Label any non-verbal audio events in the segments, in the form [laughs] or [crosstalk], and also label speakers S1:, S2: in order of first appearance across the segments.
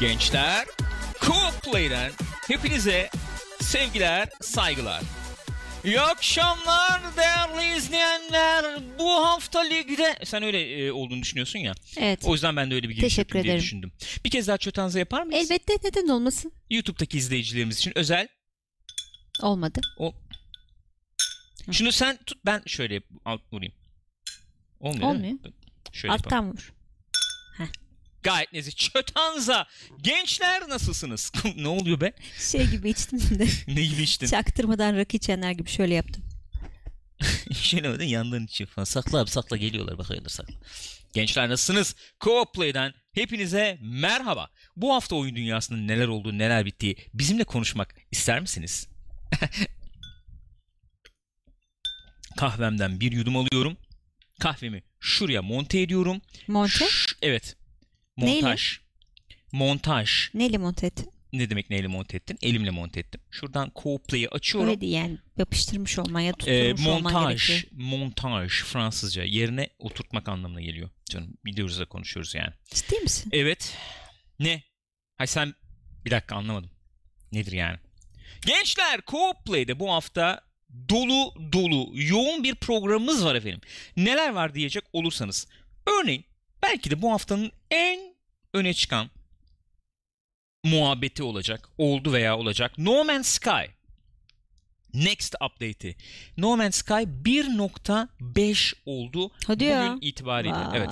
S1: gençler. Cool Play'den hepinize sevgiler, saygılar. İyi akşamlar değerli izleyenler. Bu hafta ligde... Sen öyle e, olduğunu düşünüyorsun ya.
S2: Evet.
S1: O yüzden ben de öyle bir giriş
S2: Teşekkür
S1: yapayım diye
S2: ederim.
S1: düşündüm. Bir kez daha çötanza yapar mıyız?
S2: Elbette neden olmasın?
S1: YouTube'daki izleyicilerimiz için özel.
S2: Olmadı.
S1: O... Şunu sen tut ben şöyle yap- alt vurayım. Olmuyor. değil mi? Şöyle yapalım.
S2: Alttan vur.
S1: Gayet nezih. Çötanza. Gençler nasılsınız? [laughs] ne oluyor be?
S2: Şey
S1: [laughs]
S2: gibi içtim de
S1: Ne gibi içtin?
S2: çaktırmadan rakı içenler gibi şöyle yaptım.
S1: [laughs] İşelemeden yandan içiyor falan. Sakla abi sakla geliyorlar bak hayırdır sakla. Gençler nasılsınız? Co-Play'den hepinize merhaba. Bu hafta oyun dünyasında neler olduğu neler bittiği bizimle konuşmak ister misiniz? [laughs] Kahvemden bir yudum alıyorum. Kahvemi şuraya monte ediyorum.
S2: Monte?
S1: Ş- evet.
S2: Neyle?
S1: Montaj. Montaj.
S2: Neyle monte ettin?
S1: Ne demek neyle monte ettin? Elimle monte ettim. Şuradan Co-Play'i açıyorum.
S2: Öyle değil yani yapıştırmış olman ya
S1: Ee,
S2: tutturmuş olman
S1: montaj,
S2: gerekiyor.
S1: montaj Fransızca yerine oturtmak anlamına geliyor. Canım biliyoruz da konuşuyoruz yani.
S2: Ciddi misin?
S1: Evet. Ne? Hay sen bir dakika anlamadım. Nedir yani? Gençler Co-op Play'de bu hafta dolu dolu yoğun bir programımız var efendim. Neler var diyecek olursanız. Örneğin belki de bu haftanın en öne çıkan muhabbeti olacak. Oldu veya olacak. No Man's Sky. Next update'i. No Man's Sky 1.5 oldu.
S2: Hadi
S1: Bugün
S2: ya.
S1: itibariyle.
S2: Vay.
S1: Evet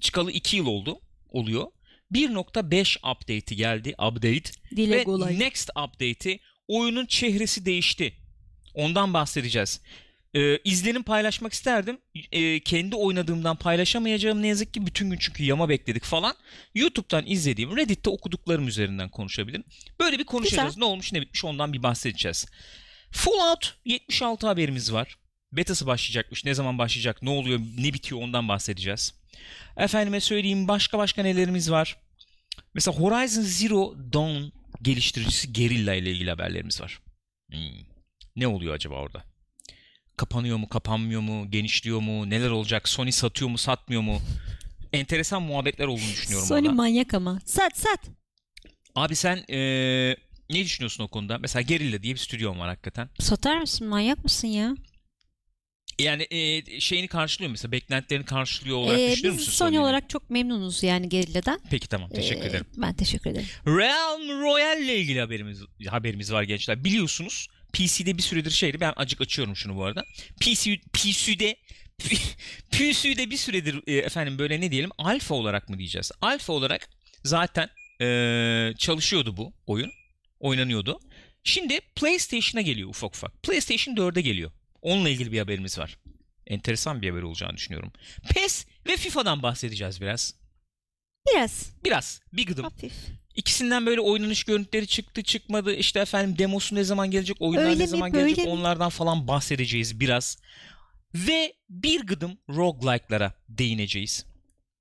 S1: çıkalı 2 yıl oldu oluyor. 1.5 update'i geldi update
S2: Dile
S1: ve
S2: kolay.
S1: next update'i oyunun çehresi değişti. Ondan bahsedeceğiz. Ee, izlenim paylaşmak isterdim. Ee, kendi oynadığımdan paylaşamayacağım ne yazık ki bütün gün çünkü yama bekledik falan. YouTube'dan izlediğim, Reddit'te okuduklarım üzerinden konuşabilirim. Böyle bir konuşacağız. Ne olmuş ne bitmiş ondan bir bahsedeceğiz. Fallout 76 haberimiz var. Betası başlayacakmış. Ne zaman başlayacak? Ne oluyor? Ne bitiyor? Ondan bahsedeceğiz. Efendime söyleyeyim başka başka nelerimiz var. Mesela Horizon Zero Dawn geliştiricisi Guerrilla ile ilgili haberlerimiz var. Hmm. Ne oluyor acaba orada? Kapanıyor mu, kapanmıyor mu, genişliyor mu, neler olacak, Sony satıyor mu, satmıyor mu? Enteresan muhabbetler olduğunu düşünüyorum
S2: Sony
S1: orada.
S2: manyak ama. Sat sat.
S1: Abi sen eee, ne düşünüyorsun o konuda? Mesela Guerrilla diye bir stüdyon var hakikaten.
S2: Satar mısın? Manyak mısın ya?
S1: Yani eee, şeyini karşılıyor mesela beklentilerini karşılıyor olarak
S2: Ee,
S1: düşünüyor
S2: biz
S1: musun?
S2: Sony
S1: Sony'nin?
S2: olarak çok memnunuz yani Gerilla'dan.
S1: Peki tamam teşekkür
S2: Ee,
S1: ederim.
S2: Ben teşekkür ederim.
S1: Realm Royale ile ilgili haberimiz haberimiz var gençler. Biliyorsunuz PC'de bir süredir şeydi. Ben acık açıyorum şunu bu arada. PC [laughs] PC'de PC'de bir süredir e, efendim böyle ne diyelim alfa olarak mı diyeceğiz? Alfa olarak zaten e, çalışıyordu bu oyun. Oynanıyordu. Şimdi PlayStation'a geliyor ufak ufak. PlayStation 4'e geliyor. Onunla ilgili bir haberimiz var. Enteresan bir haber olacağını düşünüyorum. PES ve FIFA'dan bahsedeceğiz biraz.
S2: Biraz
S1: Biraz. Bir gıdım.
S2: hafif.
S1: İkisinden böyle oynanış görüntüleri çıktı çıkmadı işte efendim demosu ne zaman gelecek oyunlar
S2: Öyle
S1: ne
S2: mi,
S1: zaman
S2: böyle
S1: gelecek
S2: mi?
S1: onlardan falan bahsedeceğiz biraz. Ve bir gıdım roguelike'lara değineceğiz.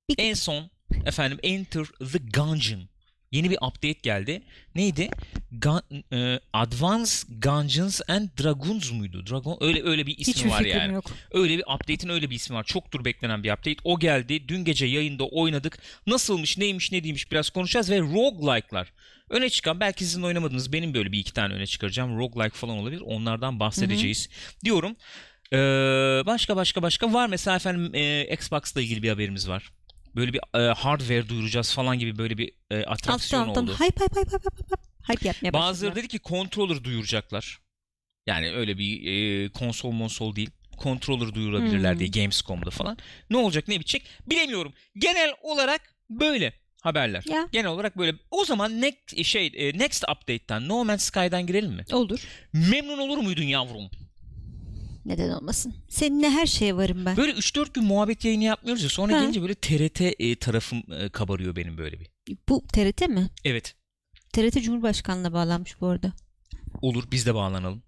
S2: Bir gıdım.
S1: En son efendim Enter the Gungeon yeni bir update geldi. Neydi? Gun, e, Advanced Dungeons and Dragons muydu? Dragon öyle öyle bir ismi
S2: Hiçbir
S1: var
S2: fikrim
S1: yani.
S2: yok.
S1: Öyle bir update'in öyle bir ismi var. Çoktur beklenen bir update. O geldi. Dün gece yayında oynadık. Nasılmış, neymiş, ne değilmiş biraz konuşacağız ve roguelike'lar. Öne çıkan belki sizin oynamadığınız benim böyle bir iki tane öne çıkaracağım. Roguelike falan olabilir. Onlardan bahsedeceğiz diyorum. Ee, başka başka başka var mesela efendim e, Xbox'la ilgili bir haberimiz var. Böyle bir e, hardware duyuracağız falan gibi böyle bir e,
S2: Alttan
S1: atraksiyon
S2: alttan
S1: oldu.
S2: hype hype hype hype hype hype. Hype yapmaya
S1: Bazıları
S2: E, başladılar.
S1: dedi ki controller duyuracaklar. Yani öyle bir e, konsol monsol değil. Controller duyurabilirler
S2: Hmm.
S1: diye Gamescom'da falan. Ne olacak ne bitecek bilemiyorum. Genel olarak böyle haberler.
S2: Ya.
S1: Genel olarak böyle. O zaman next şey e, next update'ten No Man's Sky'dan girelim mi?
S2: Olur.
S1: Memnun olur muydun yavrum?
S2: Neden olmasın? Seninle her şeye varım ben.
S1: Böyle 3-4 gün muhabbet yayını yapmıyoruz ya. Sonra
S2: Ha.
S1: gelince böyle TRT e, tarafım e, kabarıyor benim böyle bir.
S2: Bu TRT mi?
S1: Evet.
S2: TRT Cumhurbaşkanı'na bağlanmış bu arada.
S1: Olur biz de bağlanalım.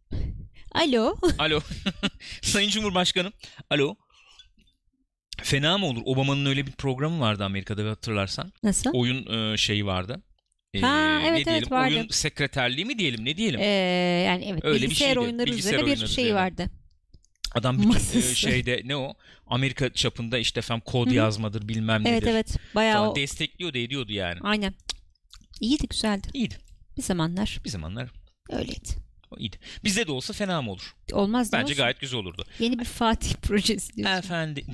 S2: Alo. [laughs]
S1: Alo. [laughs] Sayın Cumhurbaşkanım. Alo. Fena mı olur? Obama'nın öyle bir programı vardı Amerika'da bir hatırlarsan.
S2: Nasıl?
S1: Oyun e, şeyi vardı. E,
S2: Ha, evet,
S1: ne
S2: evet,
S1: diyelim?
S2: vardı.
S1: Oyun sekreterliği mi diyelim? Ne diyelim?
S2: Ee, yani evet
S1: Öyle bir
S2: bilgisayar
S1: şeydi.
S2: oyunları
S1: Bilgisayar
S2: üzerine bir
S1: oyunları
S2: şey
S1: üzerine.
S2: vardı.
S1: Adam bütün e,
S2: masası.
S1: şeyde ne o? Amerika çapında işte efendim kod
S2: Hı hı.
S1: yazmadır bilmem nedir.
S2: Evet evet. Bayağı
S1: Falan
S2: o.
S1: destekliyor da ediyordu yani.
S2: Aynen. İyiydi güzeldi.
S1: İyiydi.
S2: Bir zamanlar
S1: Bir zamanlar
S2: öyleydi.
S1: o iyiydi. Bizde de olsa fena mı olur?
S2: Olmaz ne
S1: Bence
S2: olsun?
S1: gayet güzel olurdu.
S2: Yeni bir Fatih [laughs] projesi diyorsun.
S1: Efendim.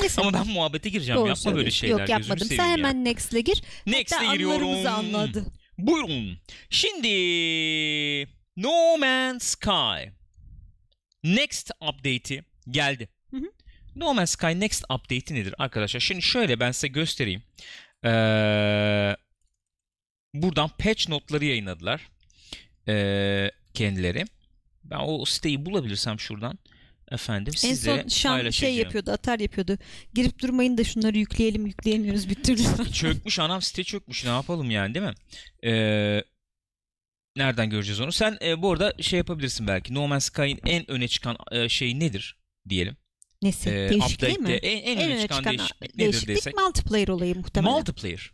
S2: Neyse.
S1: Ama ben muhabbete gireceğim.
S2: Doğru
S1: Yapma böyle
S2: söylüyorsun.
S1: şeyler.
S2: Yok
S1: gözünü
S2: yapmadım. Sen
S1: seveyim ya.
S2: hemen Next'le gir.
S1: Next'e
S2: Hatta
S1: giriyorum.
S2: anılarımızı anladı.
S1: Buyurun. Şimdi No Man's Sky Next update'i geldi.
S2: Hı hı.
S1: No Man's Sky Next update'i nedir arkadaşlar? Şimdi şöyle ben size göstereyim. Ee, buradan patch notları yayınladılar. Ee, kendileri. Ben o siteyi bulabilirsem şuradan efendim
S2: En
S1: size
S2: son Şam şey
S1: paylaşacağım.
S2: yapıyordu, atar yapıyordu. Girip durmayın da şunları yükleyelim, yükleyemiyoruz bir türlü. [laughs]
S1: çökmüş anam site çökmüş ne yapalım yani değil mi? Ee, nereden göreceğiz onu? Sen e, bu arada şey yapabilirsin belki. No Man's Sky'in en öne çıkan e, şey nedir diyelim.
S2: Neyse,
S1: Ee,
S2: değişikliği
S1: update'te
S2: mi?
S1: En, en, öne çıkan, değişiklik, nedir desek.
S2: Ee, multiplayer olayı muhtemelen. Ee,
S1: Multiplayer.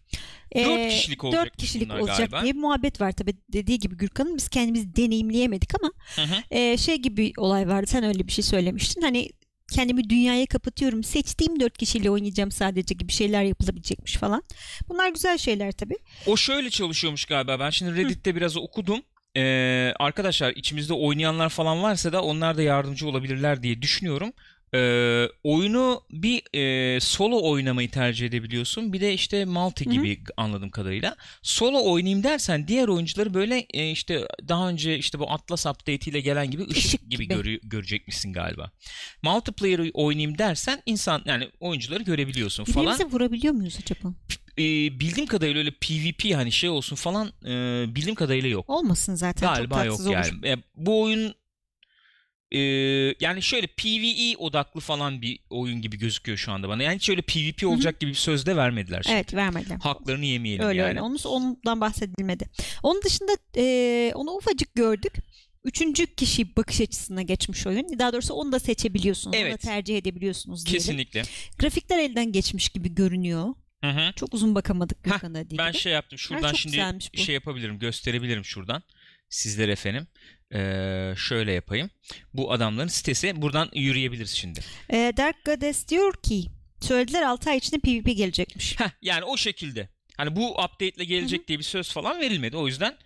S1: dört kişilik olacak
S2: dört kişilik
S1: bunlar
S2: olacak
S1: galiba.
S2: diye bir muhabbet var tabii. Dediği gibi Gürkan'ın biz kendimiz deneyimleyemedik ama
S1: Hı hı.
S2: e, şey gibi olay vardı. Sen öyle bir şey söylemiştin. Hani kendimi dünyaya kapatıyorum. Seçtiğim dört kişiyle oynayacağım sadece gibi şeyler yapılabilecekmiş falan. Bunlar güzel şeyler tabii.
S1: O şöyle çalışıyormuş galiba. Ben şimdi Reddit'te biraz okudum. Ee, arkadaşlar içimizde oynayanlar falan varsa da onlar da yardımcı olabilirler diye düşünüyorum. Ee, oyunu bir e, solo oynamayı tercih edebiliyorsun. Bir de işte multi
S2: Hı hı.
S1: gibi anladığım kadarıyla. Solo oynayayım dersen diğer oyuncuları böyle e, işte daha önce işte bu Atlas update ile gelen gibi ışık,
S2: Işık
S1: gibi,
S2: gibi.
S1: görü- görecekmişsin galiba. Multiplayer oynayayım dersen insan yani oyuncuları görebiliyorsun falan
S2: Birbirimize vurabiliyor muyuz acaba?
S1: e, bildiğim kadarıyla öyle PvP hani şey olsun falan e, bildiğim kadarıyla yok.
S2: Olmasın zaten. çok
S1: Galiba yok
S2: tatsız olur.
S1: yani. E, bu oyun e, yani şöyle PvE odaklı falan bir oyun gibi gözüküyor şu anda bana. Yani hiç öyle PvP olacak gibi bir söz de vermediler. şimdi.
S2: Evet vermediler.
S1: Haklarını yemeyelim
S2: Öyle
S1: yani.
S2: öyle. Onun, ondan bahsedilmedi. Onun dışında eee, onu ufacık gördük. Üçüncü kişi bakış açısına geçmiş oyun. Daha doğrusu onu da seçebiliyorsunuz. Onu da
S1: Evet.
S2: tercih edebiliyorsunuz diyelim.
S1: Kesinlikle.
S2: Grafikler elden geçmiş gibi görünüyor.
S1: Hı hı.
S2: Çok uzun bakamadık
S1: Heh,
S2: Gökhan'a dediği
S1: Ben
S2: gibi.
S1: şey yaptım
S2: Ha,
S1: şuradan
S2: çok
S1: şimdi
S2: güzelmiş bu.
S1: şey yapabilirim gösterebilirim şuradan sizlere efendim. E, şöyle yapayım. Bu adamların sitesi buradan yürüyebiliriz şimdi.
S2: Eee, Dark Goddess diyor ki söylediler 6 ay içinde PvP gelecekmiş.
S1: Heh, yani o şekilde. Hani bu update'le gelecek diye bir söz falan verilmedi. O yüzden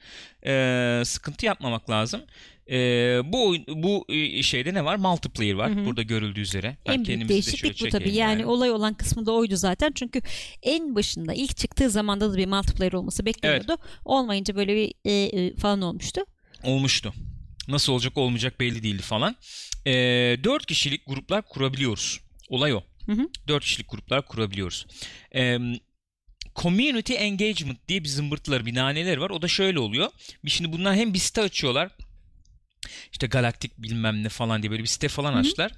S1: eee, sıkıntı yapmamak lazım. Eee, bu oyun, bu e, şeyde ne var? Multiplayer var.
S2: Hı hı.
S1: Burada görüldüğü üzere. Ben
S2: en büyük
S1: kendimizi de şöyle
S2: değişiklik bu tabii.
S1: çekeyim
S2: Yani. olay olan kısmı da oydu zaten. Çünkü en başında ilk çıktığı zamanda da bir multiplayer olması bekleniyordu. Olmayınca böyle bir e, e, falan olmuştu.
S1: olmuştu. Nasıl olacak olmayacak belli değildi falan. Eee 4 kişilik gruplar kurabiliyoruz. Olay o.
S2: Hı hı.
S1: 4 kişilik gruplar kurabiliyoruz. Eee, community engagement diye bir zımbırtıları bir naneleri var. O da şöyle oluyor. Bir- Şimdi bunlar hem bir site açıyorlar. İşte galaktik bilmem ne falan diye böyle bir site falan
S2: Hı hı.
S1: açtılar.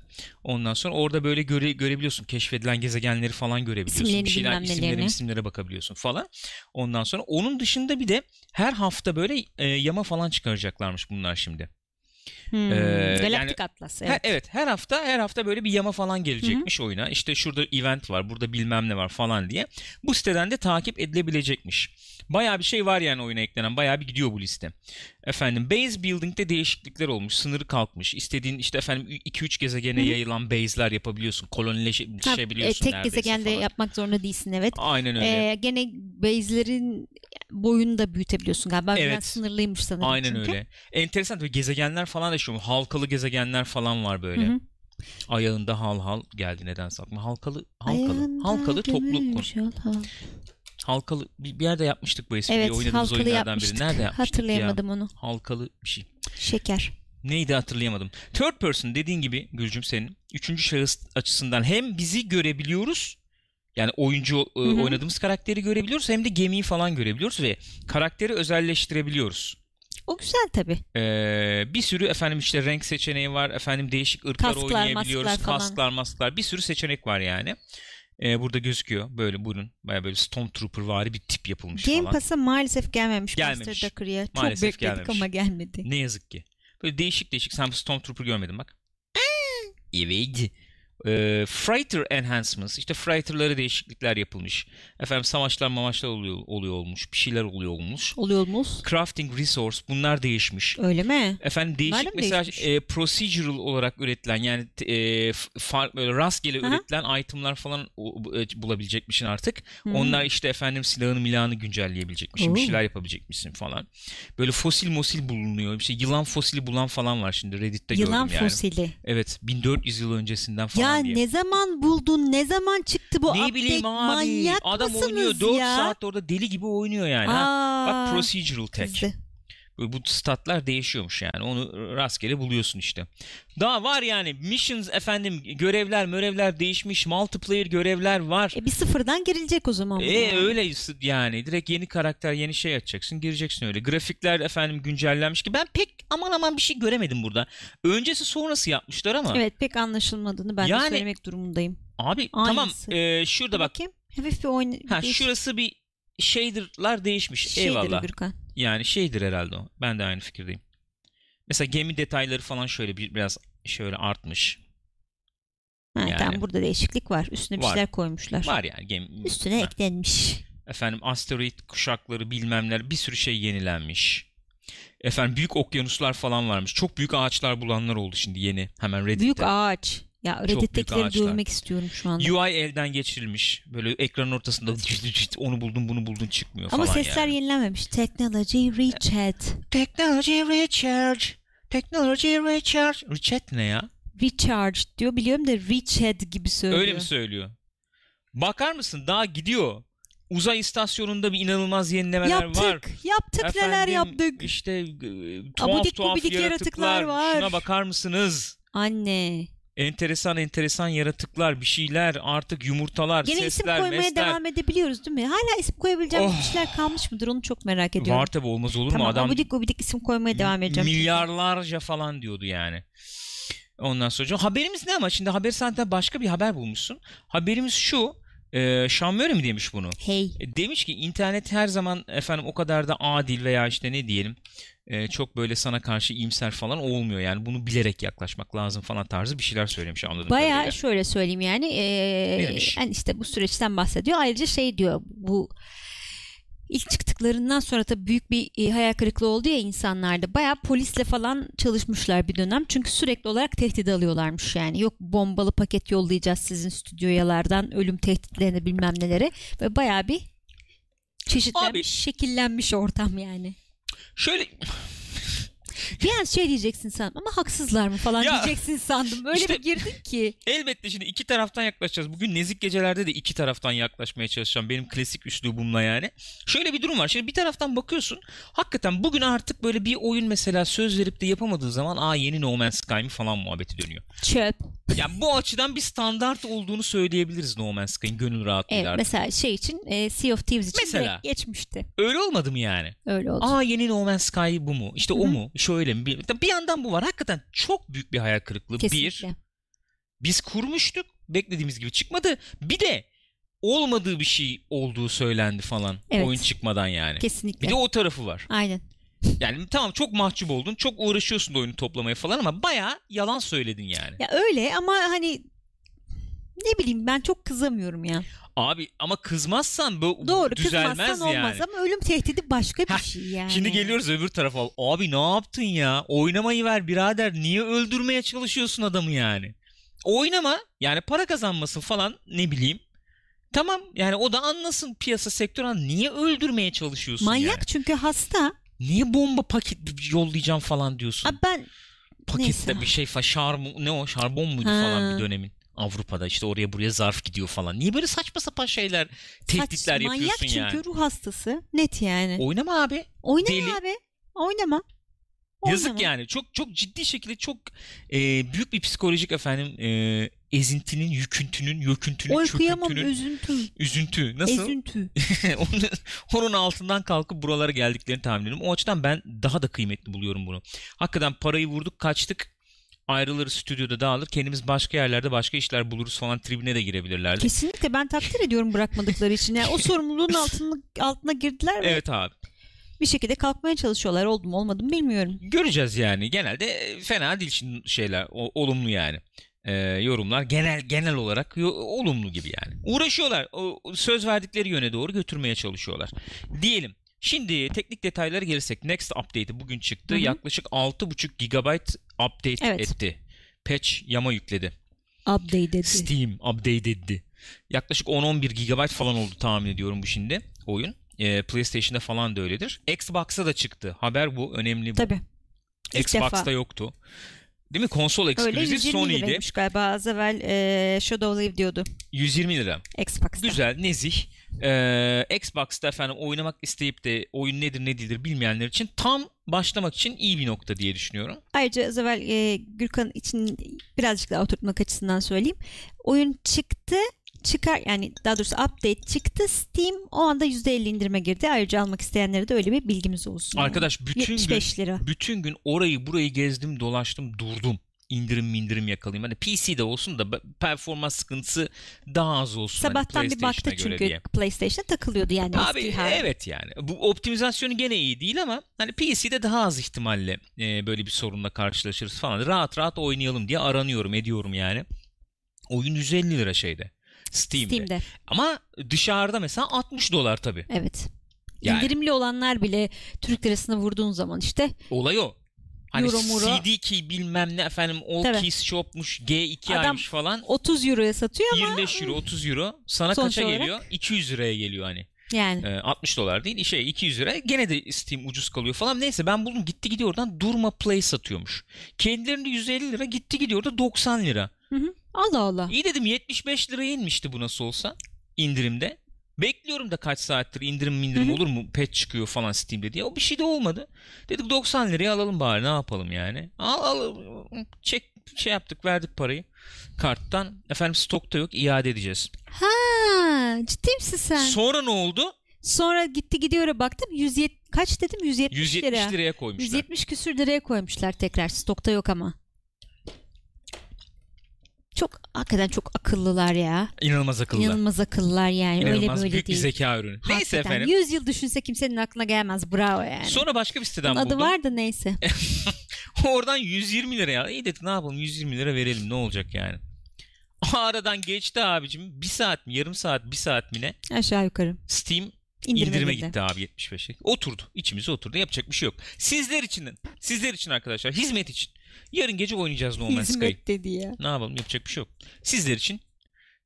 S1: Ondan sonra orada böyle göre, görebiliyorsun. Keşfedilen gezegenleri falan görebiliyorsun.
S2: İsimlerini,
S1: bir şeyler,
S2: bilmem
S1: isimlere,
S2: nelerini.
S1: isimlere bakabiliyorsun falan. Ondan sonra onun dışında bir de her hafta böyle e, yama falan çıkaracaklarmış bunlar şimdi.
S2: Hmm,
S1: Ee,
S2: Galactic Atlas.
S1: Her,
S2: Evet.
S1: evet her hafta her hafta böyle bir yama falan gelecekmiş oyuna. İşte şurada event var, burada bilmem ne var falan diye. Bu siteden de takip edilebilecekmiş. Bayağı bir şey var yani oyuna eklenen. Bayağı bir gidiyor bu liste. Efendim base building'de değişiklikler olmuş. Sınırı kalkmış. İstediğin işte efendim 2-3 gezegene
S2: Hı hı.
S1: yayılan base'ler yapabiliyorsun.
S2: Ha,
S1: Kolonileşebiliyorsun
S2: e,
S1: şey neredeyse
S2: tek gezegende
S1: falan.
S2: yapmak zorunda değilsin evet.
S1: Aynen öyle.
S2: Ee, gene base'lerin boyunu da büyütebiliyorsun galiba. Biraz
S1: Evet.
S2: sınırlıymış sanırım
S1: Aynen
S2: çünkü.
S1: öyle. Enteresan tabii gezegenler falan da şu halkalı gezegenler falan var böyle.
S2: Hı hı.
S1: Ayağında hal hal geldi neden sakma. Halkalı halkalı
S2: Ayağında
S1: halkalı toplu konu.
S2: gömülmüş Allah.
S1: Halkalı bir, bir yerde yapmıştık bu espriyi
S2: Evet
S1: oynadığımız
S2: halkalı
S1: oyunlardan biri.
S2: yapmıştık.
S1: Nerede yapmıştık ya?
S2: Hatırlayamadım onu.
S1: Halkalı bir şey.
S2: Şeker.
S1: Neydi hatırlayamadım. Third person dediğin gibi Gülcüm senin. Üçüncü şahıs açısından hem bizi görebiliyoruz. Yani oyuncu e,
S2: Hı hı.
S1: oynadığımız karakteri görebiliyoruz hem de gemiyi falan görebiliyoruz ve karakteri özelleştirebiliyoruz.
S2: O güzel tabii.
S1: Ee, bir sürü efendim işte renk seçeneği var. Efendim değişik ırklar
S2: Kasklar,
S1: oynayabiliyoruz.
S2: masklar falan.
S1: Kasklar, masklar. Bir sürü seçenek var yani. Ee, burada gözüküyor. Böyle bunun baya böyle Stormtrooper vari bir tip yapılmış
S2: Game
S1: falan.
S2: Pass'a maalesef gelmemiş,
S1: Gelmemiş.
S2: Master Ducker'ya. Çok
S1: Maalesef
S2: bekledik
S1: gelmemiş.
S2: ama gelmedi.
S1: Ne yazık ki. Böyle değişik değişik. Sen Stormtrooper görmedin bak. evet. Ee, freighter enhancements işte freighterlara değişiklikler yapılmış. Efendim savaşlar mamaşlar oluyor, oluyor olmuş. Bir şeyler oluyor olmuş.
S2: Oluyor muz.
S1: Crafting resource bunlar değişmiş.
S2: Öyle mi?
S1: Efendim
S2: Bunlar
S1: değişik
S2: da mı
S1: mesela
S2: değişmiş?
S1: e, procedural olarak üretilen yani t- e, f- fark- böyle rastgele
S2: Aha.
S1: üretilen itemlar falan o- bu- e, bulabilecekmişsin artık.
S2: Hmm.
S1: Onlar işte efendim silahını milahını güncelleyebilecekmişsin. Bir
S2: Oo.
S1: şeyler yapabilecekmişsin falan. Böyle fosil mosil bulunuyor. İşte yılan fosili bulan falan var şimdi Reddit'te
S2: Yılan
S1: gördüm yani.
S2: fosili.
S1: Evet 1400 yıl öncesinden falan
S2: ya
S1: diye.
S2: ne zaman buldun? Ne zaman çıktı bu
S1: ne
S2: update?
S1: bileyim abi
S2: Manyak
S1: adam
S2: mısınız
S1: oynuyor 4
S2: ya?
S1: saat orada deli gibi oynuyor yani. ha.
S2: Aa,
S1: Bak procedural tek.
S2: kızdı.
S1: Böyle Bu statlar değişiyormuş yani. Onu rastgele buluyorsun işte. Daha var yani missions efendim görevler mörevler değişmiş. Multiplayer görevler var.
S2: E, bir sıfırdan girilecek o zaman. bu
S1: E
S2: yani.
S1: öyle yani direkt yeni karakter yeni şey açacaksın gireceksin öyle. Grafikler efendim güncellenmiş ki ben pek aman aman bir şey göremedim burada. Öncesi sonrası yapmışlar ama
S2: Evet pek anlaşılmadığını ben
S1: Yani-
S2: de söylemek durumundayım.
S1: abi
S2: Aynısı.
S1: tamam e, şurada bak
S2: Bakayım. Hafif bir oyun.
S1: ha şurası bir shader'lar değişmiş eyvallah.
S2: Gürkan.
S1: Yani şeydir herhalde o. Ben de aynı fikirdeyim. Mesela gemi detayları falan şöyle bir, biraz şöyle artmış.
S2: Ha,
S1: Yani-
S2: Tamam burada değişiklik var. Üstüne bir
S1: Var.
S2: şeyler koymuşlar.
S1: Var yani gemi.
S2: Üstüne
S1: Ha,
S2: eklenmiş.
S1: Efendim asteroid kuşakları bilmemler bir sürü şey yenilenmiş. Efendim büyük okyanuslar falan varmış. Çok büyük ağaçlar bulanlar oldu şimdi yeni. Hemen Reddit'te.
S2: Büyük ağaç. Ya
S1: büyük
S2: Reddit'tekileri
S1: ağaçlar.
S2: görmek istiyorum şu anda.
S1: UI elden geçirilmiş. Böyle ekranın ortasında onu buldun bunu buldun çıkmıyor
S2: Ama
S1: falan
S2: sesler
S1: yani. E.
S2: yenilenmemiş. Technology Richard.
S1: Technology Richard. Technology Richard. Richard ne ya?
S2: Recharge diyor. Biliyorum da Richard gibi söylüyor.
S1: Öyle mi söylüyor? Bakar mısın daha gidiyor. Uzay istasyonunda bir inanılmaz yenilemeler
S2: Yaptık.
S1: var.
S2: Yaptık neler
S1: Efendim,
S2: yaptık.
S1: İşte e, tuhaf
S2: Abidik
S1: tuhaf
S2: gubidik
S1: yaratıklar.
S2: yaratıklar var.
S1: Şuna bakar mısınız?
S2: Anne.
S1: Enteresan enteresan yaratıklar, bir şeyler, artık yumurtalar,
S2: Gene isim
S1: sesler,
S2: koymaya
S1: mesler.
S2: devam edebiliyoruz değil mi? Hala isim koyabileceğim
S1: Oh.
S2: bir şeyler kalmış mıdır? Onu çok merak ediyorum.
S1: Var tabi olmaz olur
S2: tamam,
S1: mu adam
S2: abidik gubidik isim koymaya devam edeceğim.
S1: milyarlarca falan diyordu yani. Ondan sonra haberimiz ne ama şimdi haber saatten başka bir haber bulmuşsun. Haberimiz şu. E, Şamöre mi demiş bunu?
S2: Hey.
S1: E, Demiş ki internet her zaman efendim o kadar da adil veya işte ne diyelim e, çok böyle sana karşı iyimser falan olmuyor. Yani bunu bilerek yaklaşmak lazım falan tarzı bir şeyler söylemiş anladım.
S2: Bayağı şöyle söyleyeyim yani
S1: Ne
S2: eee
S1: demiş?
S2: yani işte bu süreçten bahsediyor. Ayrıca şey diyor bu ilk çıktıklarından sonra tabii büyük bir e, hayal kırıklığı oldu ya insanlarda. Bayağı polisle falan çalışmışlar bir dönem. Çünkü sürekli olarak tehdit alıyorlarmış yani. Yok bombalı paket yollayacağız sizin stüdyoyalardan ölüm tehditlerine bilmem nelere. Ve bayağı bir çeşitlenmiş,
S1: Abi-
S2: şekillenmiş ortam yani.
S1: Şöyle [laughs]
S2: Bir an şey diyeceksin sandım ama haksızlar mı falan
S1: Ya,
S2: diyeceksin sandım. Öyle
S1: işte-
S2: bir girdin ki.
S1: elbette şimdi iki taraftan yaklaşacağız. Bugün nezik gecelerde de iki taraftan yaklaşmaya çalışacağım. Benim klasik üslubumla yani. Şöyle bir durum var. Şimdi bir taraftan bakıyorsun. Hakikaten bugün artık böyle bir oyun mesela söz verip de yapamadığı zaman aa yeni No Man's Sky mi falan muhabbeti dönüyor.
S2: Çöp.
S1: Yani bu açıdan bir standart olduğunu söyleyebiliriz No Man's Sky'ın gönül rahatlığıyla.
S2: Evet
S1: artık.
S2: mesela şey için e, Sea of Thieves için
S1: Mesela.
S2: direkt geçmişti.
S1: Öyle olmadı mı yani?
S2: Öyle oldu.
S1: Aa yeni No Man's Sky bu mu? İşte
S2: Hı
S1: o
S2: hı.
S1: mu? Şöyle mi? Bir, bir yandan bu var. Hakikaten çok büyük bir hayal kırıklığı. Bir,
S2: Kesinlikle.
S1: biz kurmuştuk. Beklediğimiz gibi çıkmadı. Bir de olmadığı bir şey olduğu söylendi falan.
S2: Evet.
S1: Oyun çıkmadan yani.
S2: Kesinlikle.
S1: Bir de o tarafı var.
S2: Aynen.
S1: Yani tamam çok mahcup oldun. Çok uğraşıyorsun da oyunu toplamaya falan ama bayağı yalan söyledin yani.
S2: Ya öyle ama hani ne bileyim ben çok kızamıyorum ya.
S1: Abi ama kızmazsan bu
S2: Doğru
S1: düzelmez
S2: kızmazsan
S1: yani.
S2: olmaz ama ölüm tehdidi başka bir
S1: Hah,
S2: şey yani.
S1: Şimdi geliyoruz öbür tarafa. Abi ne yaptın ya? Oynamayı ver birader. Niye öldürmeye çalışıyorsun adamı yani? Oynama. Yani para kazanmasın falan ne bileyim. Tamam yani o da anlasın piyasa sektör an- niye öldürmeye çalışıyorsun
S2: Manyak
S1: yani?
S2: çünkü hasta.
S1: Niye bomba paket yollayacağım falan diyorsun.
S2: Abi ben
S1: Pakette
S2: neyse.
S1: bir şey fa şarm ne o şarbon muydu
S2: Ha.
S1: falan bir dönemin. Avrupa'da işte oraya buraya zarf gidiyor falan. Niye böyle saçma sapan şeyler, tehditler
S2: saç, manyak
S1: yapıyorsun
S2: çünkü
S1: yani?
S2: ruh hastası. Net yani.
S1: Oynama abi.
S2: Oynama
S1: deli.
S2: abi. Oynama.
S1: Yazık
S2: Oynama.
S1: yani çok çok ciddi şekilde çok e, büyük bir psikolojik efendim e, ezintinin, yüküntünün, yöküntünün,
S2: Oykuyamam
S1: çöküntünün,
S2: üzüntü.
S1: üzüntü nasıl?
S2: Ezüntü.
S1: [laughs] onun, onun altından kalkıp buralara geldiklerini tahmin ediyorum. O açıdan ben daha da kıymetli buluyorum bunu. Hakikaten parayı vurduk kaçtık ayrılırız stüdyoda dağılır kendimiz başka yerlerde başka işler buluruz falan tribine de girebilirlerdi.
S2: Kesinlikle ben takdir ediyorum bırakmadıkları için. Yani o sorumluluğun altına, altına girdiler ve
S1: Evet abi.
S2: bir şekilde kalkmaya çalışıyorlar. Oldu mu olmadı mı bilmiyorum.
S1: e, Göreceğiz yani. Genelde fena değil şimdi şeyler. o- olumlu yani. e, yorumlar genel genel olarak yo- olumlu gibi yani. Uğraşıyorlar. O, o söz verdikleri yöne doğru götürmeye çalışıyorlar. Diyelim. Şimdi teknik detaylara gelirsek Next update'i bugün çıktı.
S2: Hı hı.
S1: Yaklaşık 6.5 GB update
S2: Evet.
S1: etti. Patch yama yükledi.
S2: Update dedi.
S1: Steam update etti. Yaklaşık 10-11 GB falan oldu tahmin ediyorum bu şimdi oyun. E, PlayStation'da falan da öyledir. Xbox'a da çıktı. Haber bu. Önemli bu.
S2: Tabii. İlk
S1: Xbox'ta
S2: defa.
S1: yoktu. Değil mi? Konsol
S2: Öyle
S1: eksklüzif
S2: 120
S1: Sony'ydi.
S2: liraymış galiba. Az evvel e, Shadow Live diyordu
S1: 120 lira.
S2: Xbox'ta.
S1: Güzel, nezih. Ee, Xbox'ta efendim oynamak isteyip de oyun nedir ne değildir bilmeyenler için tam başlamak için iyi bir nokta diye düşünüyorum.
S2: Ayrıca az evvel e, Gürkan için birazcık daha oturtmak açısından söyleyeyim. Oyun çıktı çıkar yani daha doğrusu update çıktı Steam o anda %50 indirime girdi. Ayrıca almak isteyenlere de öyle bir bilgimiz olsun. yani.
S1: Arkadaş bütün gün
S2: 75 lira.
S1: bütün gün orayı burayı gezdim, dolaştım, durdum. İndirim indirim yakalayayım. Hani PC'de olsun da be- performans sıkıntısı daha az olsun. hani
S2: Sabahtan bir
S1: PlayStation'a
S2: baktı
S1: göre
S2: çünkü
S1: diye.
S2: PlayStation'a takılıyordu yani
S1: Abi
S2: eski hali.
S1: evet yani. Bu optimizasyonu gene iyi değil ama hani PC'de daha az ihtimalle e, böyle bir sorunla karşılaşırız falan. Rahat rahat oynayalım diye aranıyorum, ediyorum yani. Oyun 150 lira şeyde. Steam'de.
S2: Steam'de.
S1: Ama dışarıda mesela 60 dolar tabii.
S2: Evet.
S1: Yani.
S2: İndirimli olanlar bile Türk lirasına vurduğun zaman işte
S1: Olay o. Hani
S2: Euro, muro.
S1: CD ki bilmem ne efendim all
S2: Tabii.
S1: keys shopmuş G2
S2: Adam-
S1: aymış falan.
S2: 30 euroya satıyor ama
S1: 25 euro 30 euro sana
S2: Sonuç
S1: kaça
S2: olarak-
S1: geliyor? 200 liraya geliyor hani.
S2: yani
S1: Ee, 60 dolar değil şey 200 lira gene de Steam ucuz kalıyor falan neyse ben buldum gitti gidiyor oradan Durma Play satıyormuş. Kendilerinde 150 lira gitti gidiyor da 90 lira.
S2: Allah Allah.
S1: İyi dedim 75 liraya inmişti bu nasıl olsa indirimde. Bekliyorum da kaç saattir indirim indirim
S2: Hı hı.
S1: olur mu pet çıkıyor falan Steam'de diye. O bir şey de olmadı. Dedik 90 liraya alalım bari ne yapalım yani. Al al çek şey yaptık verdik parayı karttan. Efendim stokta yok iade edeceğiz.
S2: Ha, ciddi misin sen?
S1: Sonra ne oldu?
S2: Sonra gitti gidiyor'a baktım 170 kaç dedim 170,
S1: 170
S2: lira.
S1: liraya koymuşlar.
S2: 170 küsür liraya koymuşlar tekrar stokta yok ama. Çok hakikaten çok akıllılar ya.
S1: İnanılmaz akıllı.
S2: İnanılmaz akıllılar yani öyle
S1: İnanılmaz
S2: böyle
S1: büyük
S2: değil.
S1: bir zeka ürünü. Neyse
S2: Hakikaten.
S1: efendim.
S2: 100 yıl düşünse kimsenin aklına gelmez. Bravo yani.
S1: Sonra başka bir siteden
S2: Bunun adı
S1: buldum.
S2: var da neyse.
S1: [laughs] Oradan 120 liraya. İyi dedik ne yapalım 120 lira verelim ne olacak yani. [laughs] Aradan geçti abicim. Bir saat mi yarım saat bir saat mi ne?
S2: Aşağı yukarı.
S1: Steam
S2: İndirime,
S1: indirime
S2: girdi.
S1: gitti abi 75'lik. Oturdu. içimize oturdu. Yapacak bir şey yok. Sizler için sizler için arkadaşlar hizmet için. Yarın gece oynayacağız No Man's Sky.
S2: Hizmet dedi ya.
S1: Ne yapalım yapacak bir şey yok. Sizler için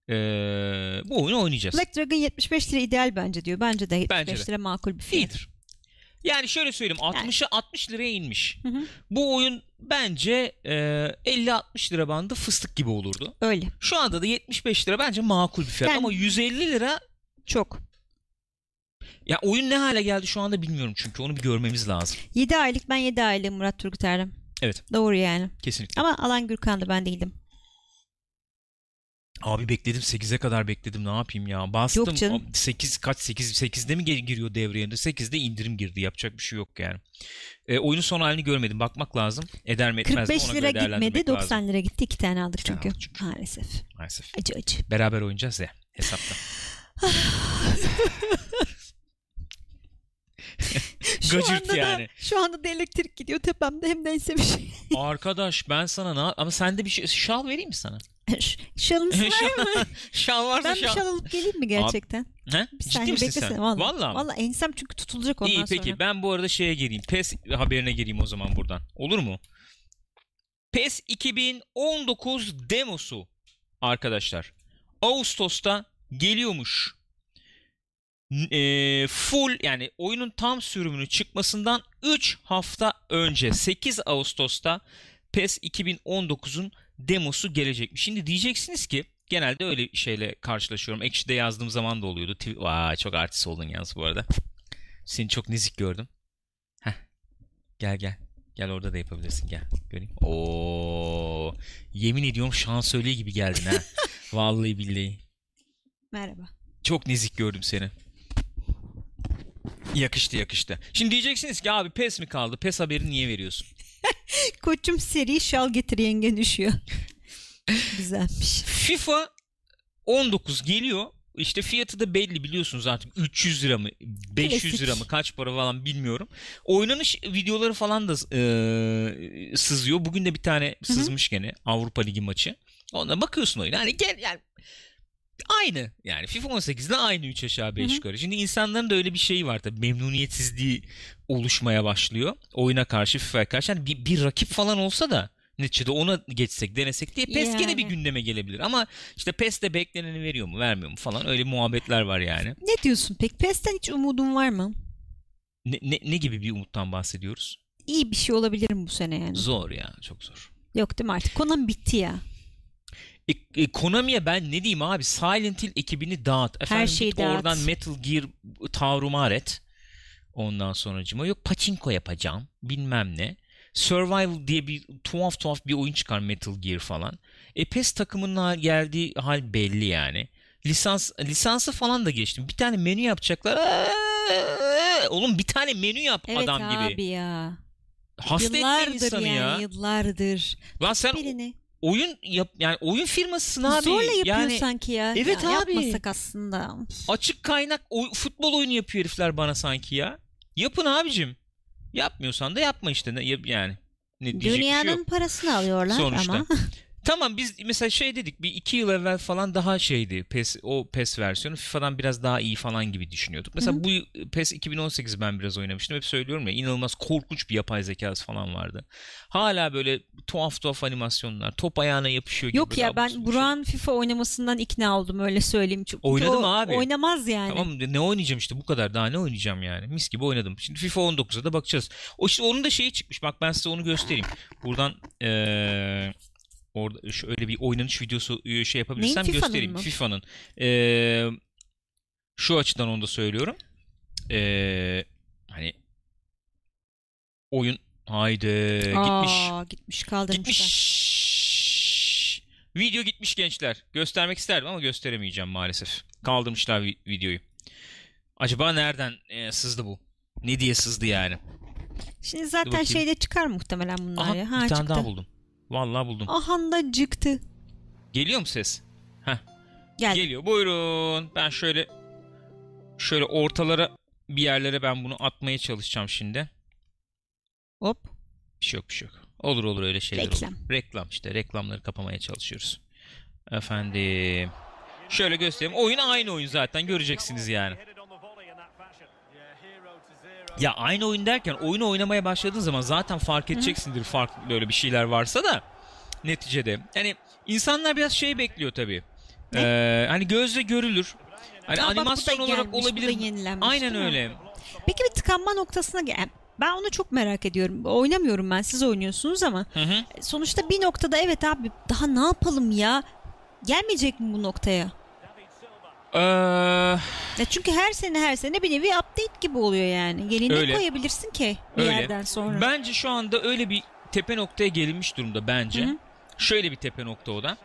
S1: eee, bu oyunu oynayacağız.
S2: Black Dragon 75 lira ideal bence diyor. Bence de 75
S1: Bence de.
S2: lira makul bir fiyat.
S1: İyidir. Yani şöyle söyleyeyim 60'a 60 liraya inmiş.
S2: Hı hı.
S1: Bu oyun bence e, 50-60 lira bandı fıstık gibi olurdu.
S2: Öyle.
S1: Şu anda da 75 lira bence makul bir fiyat
S2: Yani-
S1: ama 150 lira
S2: Çok.
S1: ya oyun ne hale geldi şu anda bilmiyorum çünkü onu bir görmemiz lazım.
S2: 7 aylık ben 7 aylığım Murat Turgut Erdem.
S1: Evet.
S2: Doğru yani.
S1: Kesinlikle.
S2: Ama Alan Gürkan'dı ben değildim.
S1: Abi bekledim 8'e kadar bekledim ne yapayım ya. Bastım
S2: Yok canım.
S1: 8 kaç 8 8'de mi gir- giriyor devreye? 8'de indirim girdi yapacak bir şey yok yani. E, oyunun son halini görmedim bakmak lazım. Eder mi etmez mi ona
S2: 45 lira
S1: göre değerlendirmek
S2: gitmedi 90
S1: lazım.
S2: lira gitti. 2 tane aldık
S1: İki tane
S2: çünkü.
S1: aldık çünkü.
S2: Maalesef.
S1: Maalesef.
S2: Acı acı.
S1: Beraber oynayacağız ya hesapta. Gıcırt
S2: anda da-
S1: yani.
S2: şu anda da elektrik gidiyor tepemde hem neyse bir şey. [laughs]
S1: Arkadaş ben sana ne ama sende bir şey şal vereyim mi sana?
S2: Şalınız var mı?
S1: [laughs] Şal varsa
S2: ben bir
S1: şal.
S2: şal alıp geleyim mi gerçekten?
S1: He?
S2: Bir
S1: Ciddi
S2: saniye
S1: misin
S2: beklesene.
S1: sen?
S2: Valla.
S1: Vallahi. mı?
S2: Valla ensem çünkü tutulacak ondan
S1: İyi peki
S2: sonra.
S1: ben bu arada şeye gireyim. PES haberine gireyim o zaman buradan. Olur mu? PES 2019 demosu arkadaşlar. Ağustos'ta geliyormuş. N- e, full yani oyunun tam sürümünü çıkmasından 3 hafta önce 8 Ağustos'ta PES 2019'un demosu gelecekmiş. Şimdi diyeceksiniz ki genelde öyle şeyle karşılaşıyorum. Ekşi'de yazdığım zaman da oluyordu. Tw- Vay, çok artist oldun yalnız bu arada. Seni çok nezik gördüm. Heh. Gel gel. Gel orada da yapabilirsin gel. Göreyim. Oo. Yemin ediyorum şansölye gibi geldin ha. Vallahi billahi.
S2: Merhaba.
S1: Çok nezik gördüm seni. Yakıştı yakıştı. Şimdi diyeceksiniz ki abi pes mi kaldı? Pes haberi niye veriyorsun?
S2: Koçum seri şal getir
S1: [laughs]
S2: yenge düşüyor. Güzelmiş.
S1: FIFA 19 geliyor. İşte fiyatı da belli biliyorsunuz artık 300 lira mı 500 lira mı
S2: Klasik.
S1: kaç para falan bilmiyorum. Oynanış videoları falan da e, sızıyor. Bugün de bir tane sızmış gene Avrupa Ligi maçı. Ona bakıyorsun oyuna. Hani gel yani aynı. Yani FIFA 18'de aynı 3 aşağı 5
S2: Hı hı.
S1: yukarı. Şimdi insanların da öyle bir şeyi var tabii. Memnuniyetsizliği oluşmaya başlıyor. Oyuna karşı FIFA'ya karşı. Yani bir, bir rakip falan olsa da neticede ona geçsek denesek diye PES gene
S2: Yani.
S1: bir gündeme gelebilir. Ama işte PES de bekleneni veriyor mu vermiyor mu falan öyle muhabbetler var yani.
S2: Ne diyorsun pek? PES'ten hiç umudun var mı?
S1: Ne, ne, ne gibi bir umuttan bahsediyoruz?
S2: İyi bir şey olabilir mi bu sene yani?
S1: Zor ya çok zor.
S2: Yok değil mi artık? Konam bitti ya.
S1: E, e, Konami'ye ben ne diyeyim abi Silent Hill ekibini dağıt. Efendim,
S2: şeyi
S1: git
S2: dağıt.
S1: Oradan Metal Gear tavrumar et. Ondan sonracıma yok paçinko yapacağım bilmem ne. Survival diye bir tuhaf tuhaf bir oyun çıkar Metal Gear falan. E PES takımının ha- geldiği hal belli yani. Lisans lisansı falan da geçtim. Bir tane menü yapacaklar. Aa, Oğlum bir tane menü yap
S2: Evet
S1: adam
S2: abi
S1: gibi.
S2: ya.
S1: Hasta etme
S2: yıllardır
S1: insanı
S2: yani
S1: ya.
S2: yıllardır.
S1: Lan sen
S2: Birini.
S1: oyun yap yani oyun firmasısın abi.
S2: Zorla yapıyor
S1: yani,
S2: sanki ya.
S1: Evet
S2: Ya
S1: abi.
S2: Yapmasak aslında.
S1: Açık kaynak oy- futbol oyunu yapıyor herifler bana sanki ya. Yapın abicim. Yapmıyorsan da yapma işte ne, yap- yani. Ne diyecek bir şey yok.
S2: Dünyanın parasını alıyorlar
S1: Sonuçta.
S2: ama. [laughs]
S1: Tamam biz mesela şey dedik bir iki yıl evvel falan daha şeydi PES, o PES versiyonu FIFA'dan biraz daha iyi falan gibi düşünüyorduk. Mesela
S2: Hı
S1: bu PES 2018 ben biraz oynamıştım hep söylüyorum ya inanılmaz korkunç bir yapay zekası falan vardı. Hala böyle tuhaf tuhaf animasyonlar top ayağına yapışıyor gibi. şey.
S2: Yok ya
S1: daha bu-
S2: ben Burak'ın FIFA oynamasından ikna oldum öyle söyleyeyim. Çünkü
S1: Oynadı
S2: o
S1: mı abi?
S2: Oynamaz yani.
S1: Tamam ne oynayacağım işte bu kadar daha ne oynayacağım yani. Mis gibi oynadım. Şimdi FIFA 19'a da bakacağız. O işte onun da şeyi çıkmış. Bak ben size onu göstereyim. Buradan eee orada şöyle bir oynanış videosu e, şey yapabilirsem
S2: Neyin, FIFA'nın
S1: göstereyim.
S2: mı?
S1: FIFA'nın. Eee, şu açıdan onu da söylüyorum. Eee, hani oyun haydi gitmiş.
S2: Aa, gitmiş kaldırmışlar.
S1: Gitmiş. Video gitmiş gençler. Göstermek isterdim ama gösteremeyeceğim maalesef. Kaldırmışlar vi- videoyu. Acaba nereden e, sızdı bu? Ne diye sızdı yani?
S2: Şimdi
S1: Dur
S2: zaten
S1: bakayım.
S2: şeyde çıkar muhtemelen bunlar
S1: Aha,
S2: ya.
S1: bir
S2: Ha,
S1: tane
S2: çıktı.
S1: daha buldum. Vallahi buldum.
S2: Ahan da çıktı.
S1: Geliyor mu ses?
S2: Gel.
S1: Geliyor. Buyurun. Ben şöyle şöyle ortalara bir yerlere ben bunu atmaya çalışacağım şimdi.
S2: Hop.
S1: Bir şey yok bir şey yok. Olur olur öyle şeyler olur.
S2: Reklam.
S1: Reklam işte reklamları kapamaya çalışıyoruz. Efendim. Şöyle göstereyim. Oyun aynı oyun zaten göreceksiniz yani. Ya aynı oyun derken oyunu oynamaya başladığın zaman zaten fark edeceksindir farklı öyle bir şeyler varsa da neticede. Yani insanlar biraz şey bekliyor tabii. Ee, hani gözle görülür. Hani
S2: Aa, bak, bu da
S1: animasyon olarak
S2: gelmiş, bu da
S1: olabilir.
S2: yenilenmiş,
S1: Aynen
S2: değil mi?
S1: öyle.
S2: Peki bir tıkanma noktasına gel. Ben onu çok merak ediyorum. Oynamıyorum ben. Siz oynuyorsunuz ama
S1: Hı hı.
S2: sonuçta bir noktada evet abi daha ne yapalım ya? Gelmeyecek mi bu noktaya?
S1: Ee,
S2: Ya çünkü her sene her sene bir nevi update gibi oluyor yani. Yeni
S1: Öyle.
S2: ne koyabilirsin ki bir
S1: Öyle.
S2: yerden sonra?
S1: Bence şu anda öyle bir tepe noktaya gelinmiş durumda bence.
S2: Hı hı.
S1: Şöyle bir tepe nokta o da.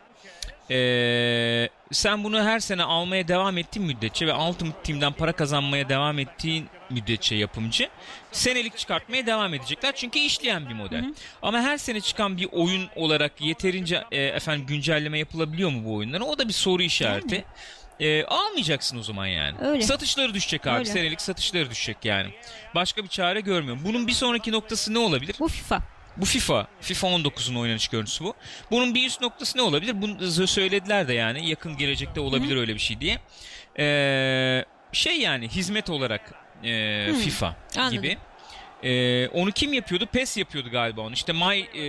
S1: Ee, sen bunu her sene almaya devam ettiğin müddetçe ve Ultimate Team'den para kazanmaya devam ettiğin müddetçe yapımcı senelik çıkartmaya devam edecekler. Çünkü işleyen bir model. Ama her sene çıkan bir oyun olarak yeterince e, efendim güncelleme yapılabiliyor mu bu oyunlara? O da bir soru işareti. Ee, almayacaksın o zaman yani.
S2: Öyle.
S1: Satışları düşecek abi.
S2: Öyle.
S1: Senelik satışları düşecek yani. Başka bir çare görmüyorum. Bunun bir sonraki noktası ne olabilir?
S2: Bu FIFA.
S1: Bu FIFA. FIFA 19'un oynanış görüntüsü bu. Bunun bir üst noktası ne olabilir? Bunu z- söylediler de yani yakın gelecekte olabilir öyle bir şey diye. Ee, şey yani hizmet olarak e,
S2: Hı.
S1: FIFA
S2: Anladım.
S1: gibi. Ee, onu kim yapıyordu? PES yapıyordu galiba onu. İşte My e,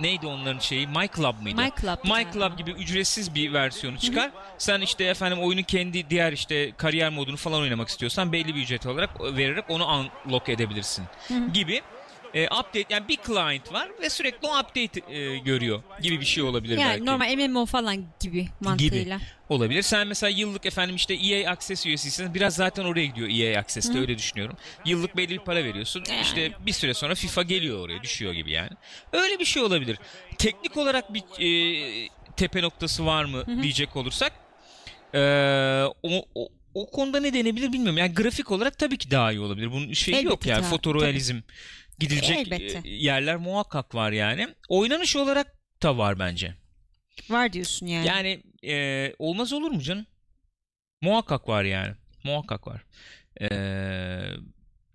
S1: neydi onların şeyi? My Club mıydı?
S2: My Club.
S1: My Club gibi ücretsiz bir versiyonu çıkar. Sen işte efendim oyunu kendi diğer işte kariyer modunu falan oynamak istiyorsan belli bir ücret olarak vererek onu unlock edebilirsin
S2: hı.
S1: gibi. E, update yani bir client var ve sürekli o update e, görüyor gibi bir şey olabilir
S2: Yani
S1: belki.
S2: normal MMO falan gibi mantığıyla.
S1: Olabilir. Sen mesela yıllık efendim işte EA Access üyesiysen biraz zaten oraya gidiyor E EA Access'te öyle düşünüyorum. Yıllık belli bir para veriyorsun.
S2: Yani.
S1: İşte bir süre sonra FIFA geliyor oraya düşüyor gibi yani. Öyle bir şey olabilir. Teknik olarak bir e, tepe noktası var mı diyecek olursak e, o, o o konuda ne denebilir bilmiyorum. Yani grafik olarak tabii ki daha iyi olabilir. Bunun şeyi yok
S2: Elbette
S1: yani.
S2: daha-
S1: Fotorealizm gidilecek
S2: Elbette.
S1: e, yerler muhakkak var yani. Oynanış olarak da var bence.
S2: Var diyorsun yani.
S1: Yani e, olmaz olur mu canım? Muhakkak var yani. Muhakkak var. E,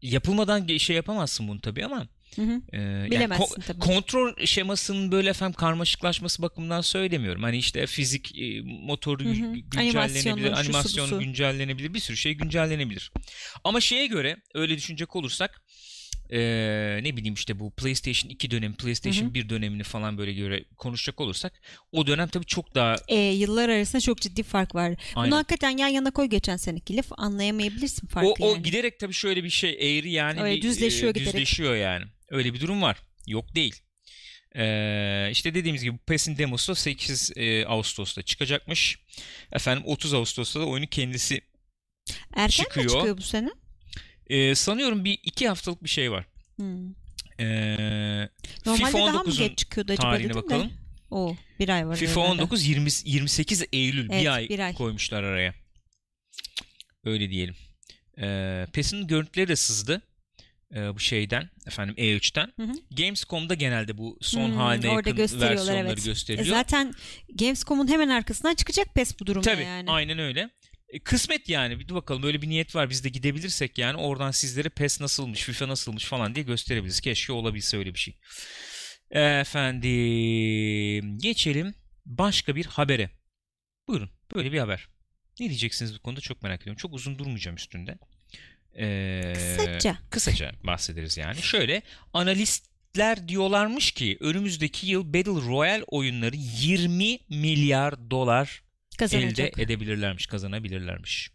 S1: yapılmadan ge- şey yapamazsın bunu tabii ama
S2: Hı hı.
S1: Ee, yani
S2: Bilemezsin
S1: ko-
S2: tabii.
S1: kontrol şemasının böyle efendim karmaşıklaşması bakımından söylemiyorum. Hani işte fizik e, motoru
S2: Hı hı.
S1: gü-
S2: Animasyonları,
S1: güncellenebilir,
S2: şusu, busu.
S1: animasyonu güncellenebilir, bir sürü şey güncellenebilir. Ama şeye göre öyle düşünecek olursak e, ne bileyim işte bu PlayStation 2 dönemi, PlayStation 1 dönemini falan böyle göre konuşacak olursak o dönem tabii çok daha
S2: E, yıllar arasında çok ciddi fark var. Bunu
S1: Aynen.
S2: hakikaten yan yana koy geçen senekiyle f- anlayamayabilirsin farkı
S1: o, o
S2: yani.
S1: giderek tabii şöyle bir şey eğri yani
S2: Öyle
S1: bir,
S2: düzleşiyor
S1: e,
S2: giderek.
S1: düzleşiyor yani. Öyle bir durum var. Yok değil. Ee, işte dediğimiz gibi PES'in demosu da 8 e, Ağustos'ta çıkacakmış. Efendim 30 Ağustos'ta da oyunu kendisi
S2: Erken mi
S1: çıkıyor.
S2: çıkıyor bu sene?
S1: e, sanıyorum bir iki haftalık bir şey var.
S2: Hmm.
S1: Ee,
S2: Normalde
S1: FIFA
S2: daha mı
S1: 19'un
S2: geç çıkıyordu acaba
S1: tarihine
S2: dedim
S1: bakalım.
S2: de. Oo, bir ay var.
S1: FIFA
S2: herhalde.
S1: 19 20, 28 Eylül
S2: Evet,
S1: bir, ay
S2: bir ay.
S1: koymuşlar araya. Öyle diyelim. Ee, PES'in görüntüleri de sızdı. Ee, bu şeyden efendim E3'ten.
S2: Hı hı.
S1: Gamescom'da genelde bu son
S2: Hmm,
S1: haline
S2: orada
S1: yakın
S2: gösteriyorlar,
S1: versiyonları
S2: evet. E,
S1: gösteriliyor.
S2: zaten Gamescom'un hemen arkasından çıkacak PES bu durumda
S1: Tabii
S2: yani.
S1: aynen öyle. E, Kısmet yani bir dur bakalım öyle bir niyet var biz de gidebilirsek yani oradan sizlere PES nasılmış FIFA nasılmış falan diye gösterebiliriz. Keşke olabilse öyle bir şey. Efendim geçelim başka bir habere. Buyurun böyle bir haber. Ne diyeceksiniz bu konuda çok merak ediyorum. Çok uzun durmayacağım üstünde. Ee,
S2: Kısaca.
S1: Kısaca bahsederiz yani. Şöyle analistler diyorlarmış ki önümüzdeki yıl Battle Royale oyunları 20 milyar dolar
S2: Kazanacak.
S1: elde edebilirlermiş, kazanabilirlermiş.